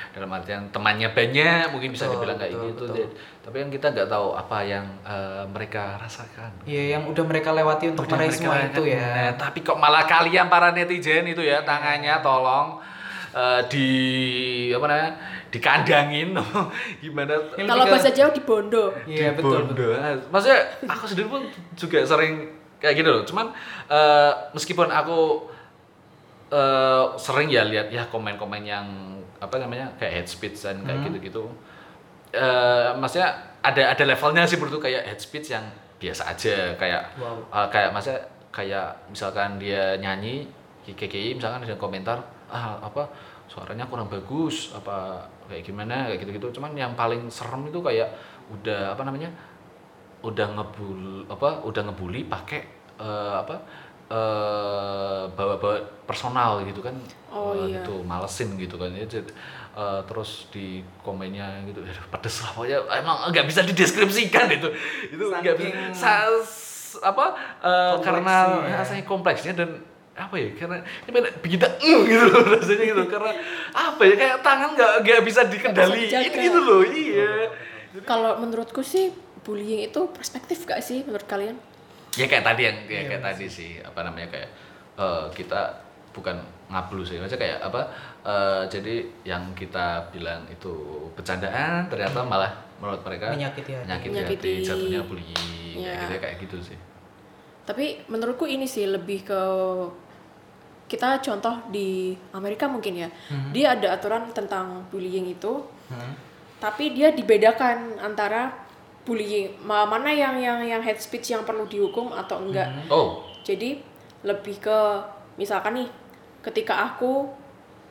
[SPEAKER 1] dalam artian temannya banyak, mungkin bisa
[SPEAKER 2] Betul,
[SPEAKER 1] dibilang kayak
[SPEAKER 2] betul,
[SPEAKER 1] gitu.
[SPEAKER 2] betul.
[SPEAKER 1] Jadi- tapi yang kita nggak tahu apa yang eh, mereka rasakan.
[SPEAKER 2] Iya, yang udah mereka lewati untuk
[SPEAKER 1] Udah
[SPEAKER 2] meraih
[SPEAKER 1] mereka
[SPEAKER 2] semua
[SPEAKER 1] lakukan.
[SPEAKER 2] itu ya.
[SPEAKER 1] Nah, tapi kok malah kalian para netizen itu ya tangannya tolong eh, di apa namanya dikandangin gimana
[SPEAKER 2] Yang
[SPEAKER 3] gitu. kalau
[SPEAKER 2] lebih ke-
[SPEAKER 3] bahasa Jawa di bondo
[SPEAKER 2] Iya, betul. betul.
[SPEAKER 1] Dibondo. Maksudnya aku sendiri pun juga sering kayak gitu loh. Cuman eh, meskipun aku eh, sering ya lihat ya komen-komen yang apa namanya kayak head speech dan
[SPEAKER 2] Hmm.
[SPEAKER 1] kayak gitu-gitu. Eh, maksudnya ada ada levelnya sih menurutku kayak head speech yang biasa aja kayak
[SPEAKER 2] Wow.
[SPEAKER 1] eh, kayak maksudnya kayak misalkan dia nyanyi KKI misalkan ada komentar ah apa suaranya kurang bagus apa kayak gimana kayak gitu-gitu cuman yang paling serem itu kayak udah apa namanya udah ngebul apa udah ngebully pakai eh, apa eh, bawa-bawa personal gitu kan
[SPEAKER 3] Oh,
[SPEAKER 1] Eh,
[SPEAKER 3] iya.
[SPEAKER 1] itu malesin gitu kan ya jadi, eh, terus di komennya gitu "Aduh, pedes lah pokoknya emang nggak bisa dideskripsikan gitu." itu itu nggak bisa
[SPEAKER 2] Saking-
[SPEAKER 1] Sa- apa eh,
[SPEAKER 2] Kompleksnya
[SPEAKER 1] karena
[SPEAKER 2] ya.
[SPEAKER 1] rasanya kompleksnya dan apa ya karena ini bener- begitu "Eng" gitu loh rasanya gitu karena apa ya kayak tangan nggak nggak bisa dikendaliin
[SPEAKER 3] dijaga.
[SPEAKER 1] gitu loh
[SPEAKER 2] Oh,
[SPEAKER 1] iya
[SPEAKER 3] kalau menurutku sih bullying itu perspektif gak sih menurut kalian
[SPEAKER 1] ya kayak tadi yang
[SPEAKER 2] Iya,
[SPEAKER 1] ya kayak tadi sih apa namanya kayak eh, kita bukan ngablu sih maksudnya kayak apa eh, jadi yang kita bilang itu bercandaan ternyata malah menurut mereka
[SPEAKER 2] Menyakiti Iya. hati.
[SPEAKER 1] menyakiti,
[SPEAKER 3] Menyakiti.
[SPEAKER 1] hati, jatuhnya bullying
[SPEAKER 3] Ya.
[SPEAKER 1] kayak gitu kayak gitu sih
[SPEAKER 3] Tapi menurutku ini sih lebih ke kita contoh di Amerika mungkin ya. Dia ada aturan tentang bullying itu,
[SPEAKER 2] Hmm.
[SPEAKER 3] tapi dia dibedakan antara bullying ma- mana yang yang yang hate speech yang perlu dihukum atau enggak.
[SPEAKER 1] oh
[SPEAKER 3] Jadi lebih ke misalkan nih ketika aku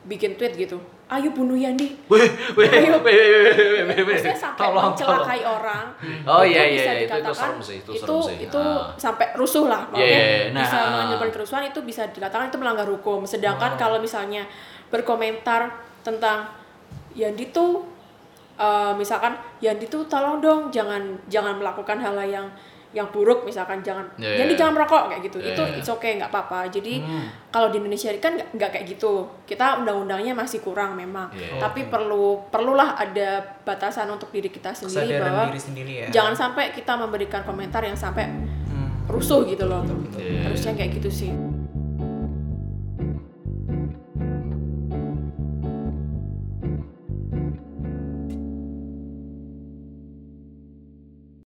[SPEAKER 3] bikin tweet gitu, ayo bunuh Yandi.
[SPEAKER 1] Weh, weh, weh, weh, weh, weh, weh.
[SPEAKER 3] Maksudnya sampai
[SPEAKER 1] Tolong, tolong.
[SPEAKER 3] mencelakai orang.
[SPEAKER 1] Oh,
[SPEAKER 3] itu
[SPEAKER 1] iya, iya,
[SPEAKER 3] bisa
[SPEAKER 1] iya, itu- itu
[SPEAKER 3] dikatakan
[SPEAKER 1] serem sih, itu
[SPEAKER 3] itu
[SPEAKER 1] serem sih.
[SPEAKER 3] itu
[SPEAKER 1] Ah.
[SPEAKER 3] sampai rusuh lah.
[SPEAKER 1] Iya,
[SPEAKER 3] pokoknya
[SPEAKER 1] iya, iya. Nah,
[SPEAKER 3] bisa
[SPEAKER 1] ah.
[SPEAKER 3] menyebabkan kerusuhan itu bisa dikatakan itu melanggar hukum. Sedangkan kalau misalnya berkomentar tentang Yandi tuh eh, misalkan Yandi tuh tolong dong jangan jangan melakukan hal yang yang buruk misalkan jangan
[SPEAKER 1] Iya, iya,
[SPEAKER 3] Yandi
[SPEAKER 1] iya.
[SPEAKER 3] jangan merokok kayak gitu
[SPEAKER 1] Iya,
[SPEAKER 3] itu
[SPEAKER 1] iya.
[SPEAKER 3] it's okay nggak apa-apa jadi
[SPEAKER 2] Hmm.
[SPEAKER 3] kalau di Indonesia kan nggak- nggak kayak gitu kita undang-undangnya masih kurang memang
[SPEAKER 1] Iya.
[SPEAKER 3] tapi perlu perlulah ada batasan untuk diri kita sendiri
[SPEAKER 2] Kesadaran
[SPEAKER 3] bahwa
[SPEAKER 2] diri sendiri ya.
[SPEAKER 3] jangan sampai kita memberikan komentar yang sampai
[SPEAKER 2] Hmm.
[SPEAKER 3] rusuh gitu loh
[SPEAKER 1] Iya.
[SPEAKER 3] harusnya kayak gitu sih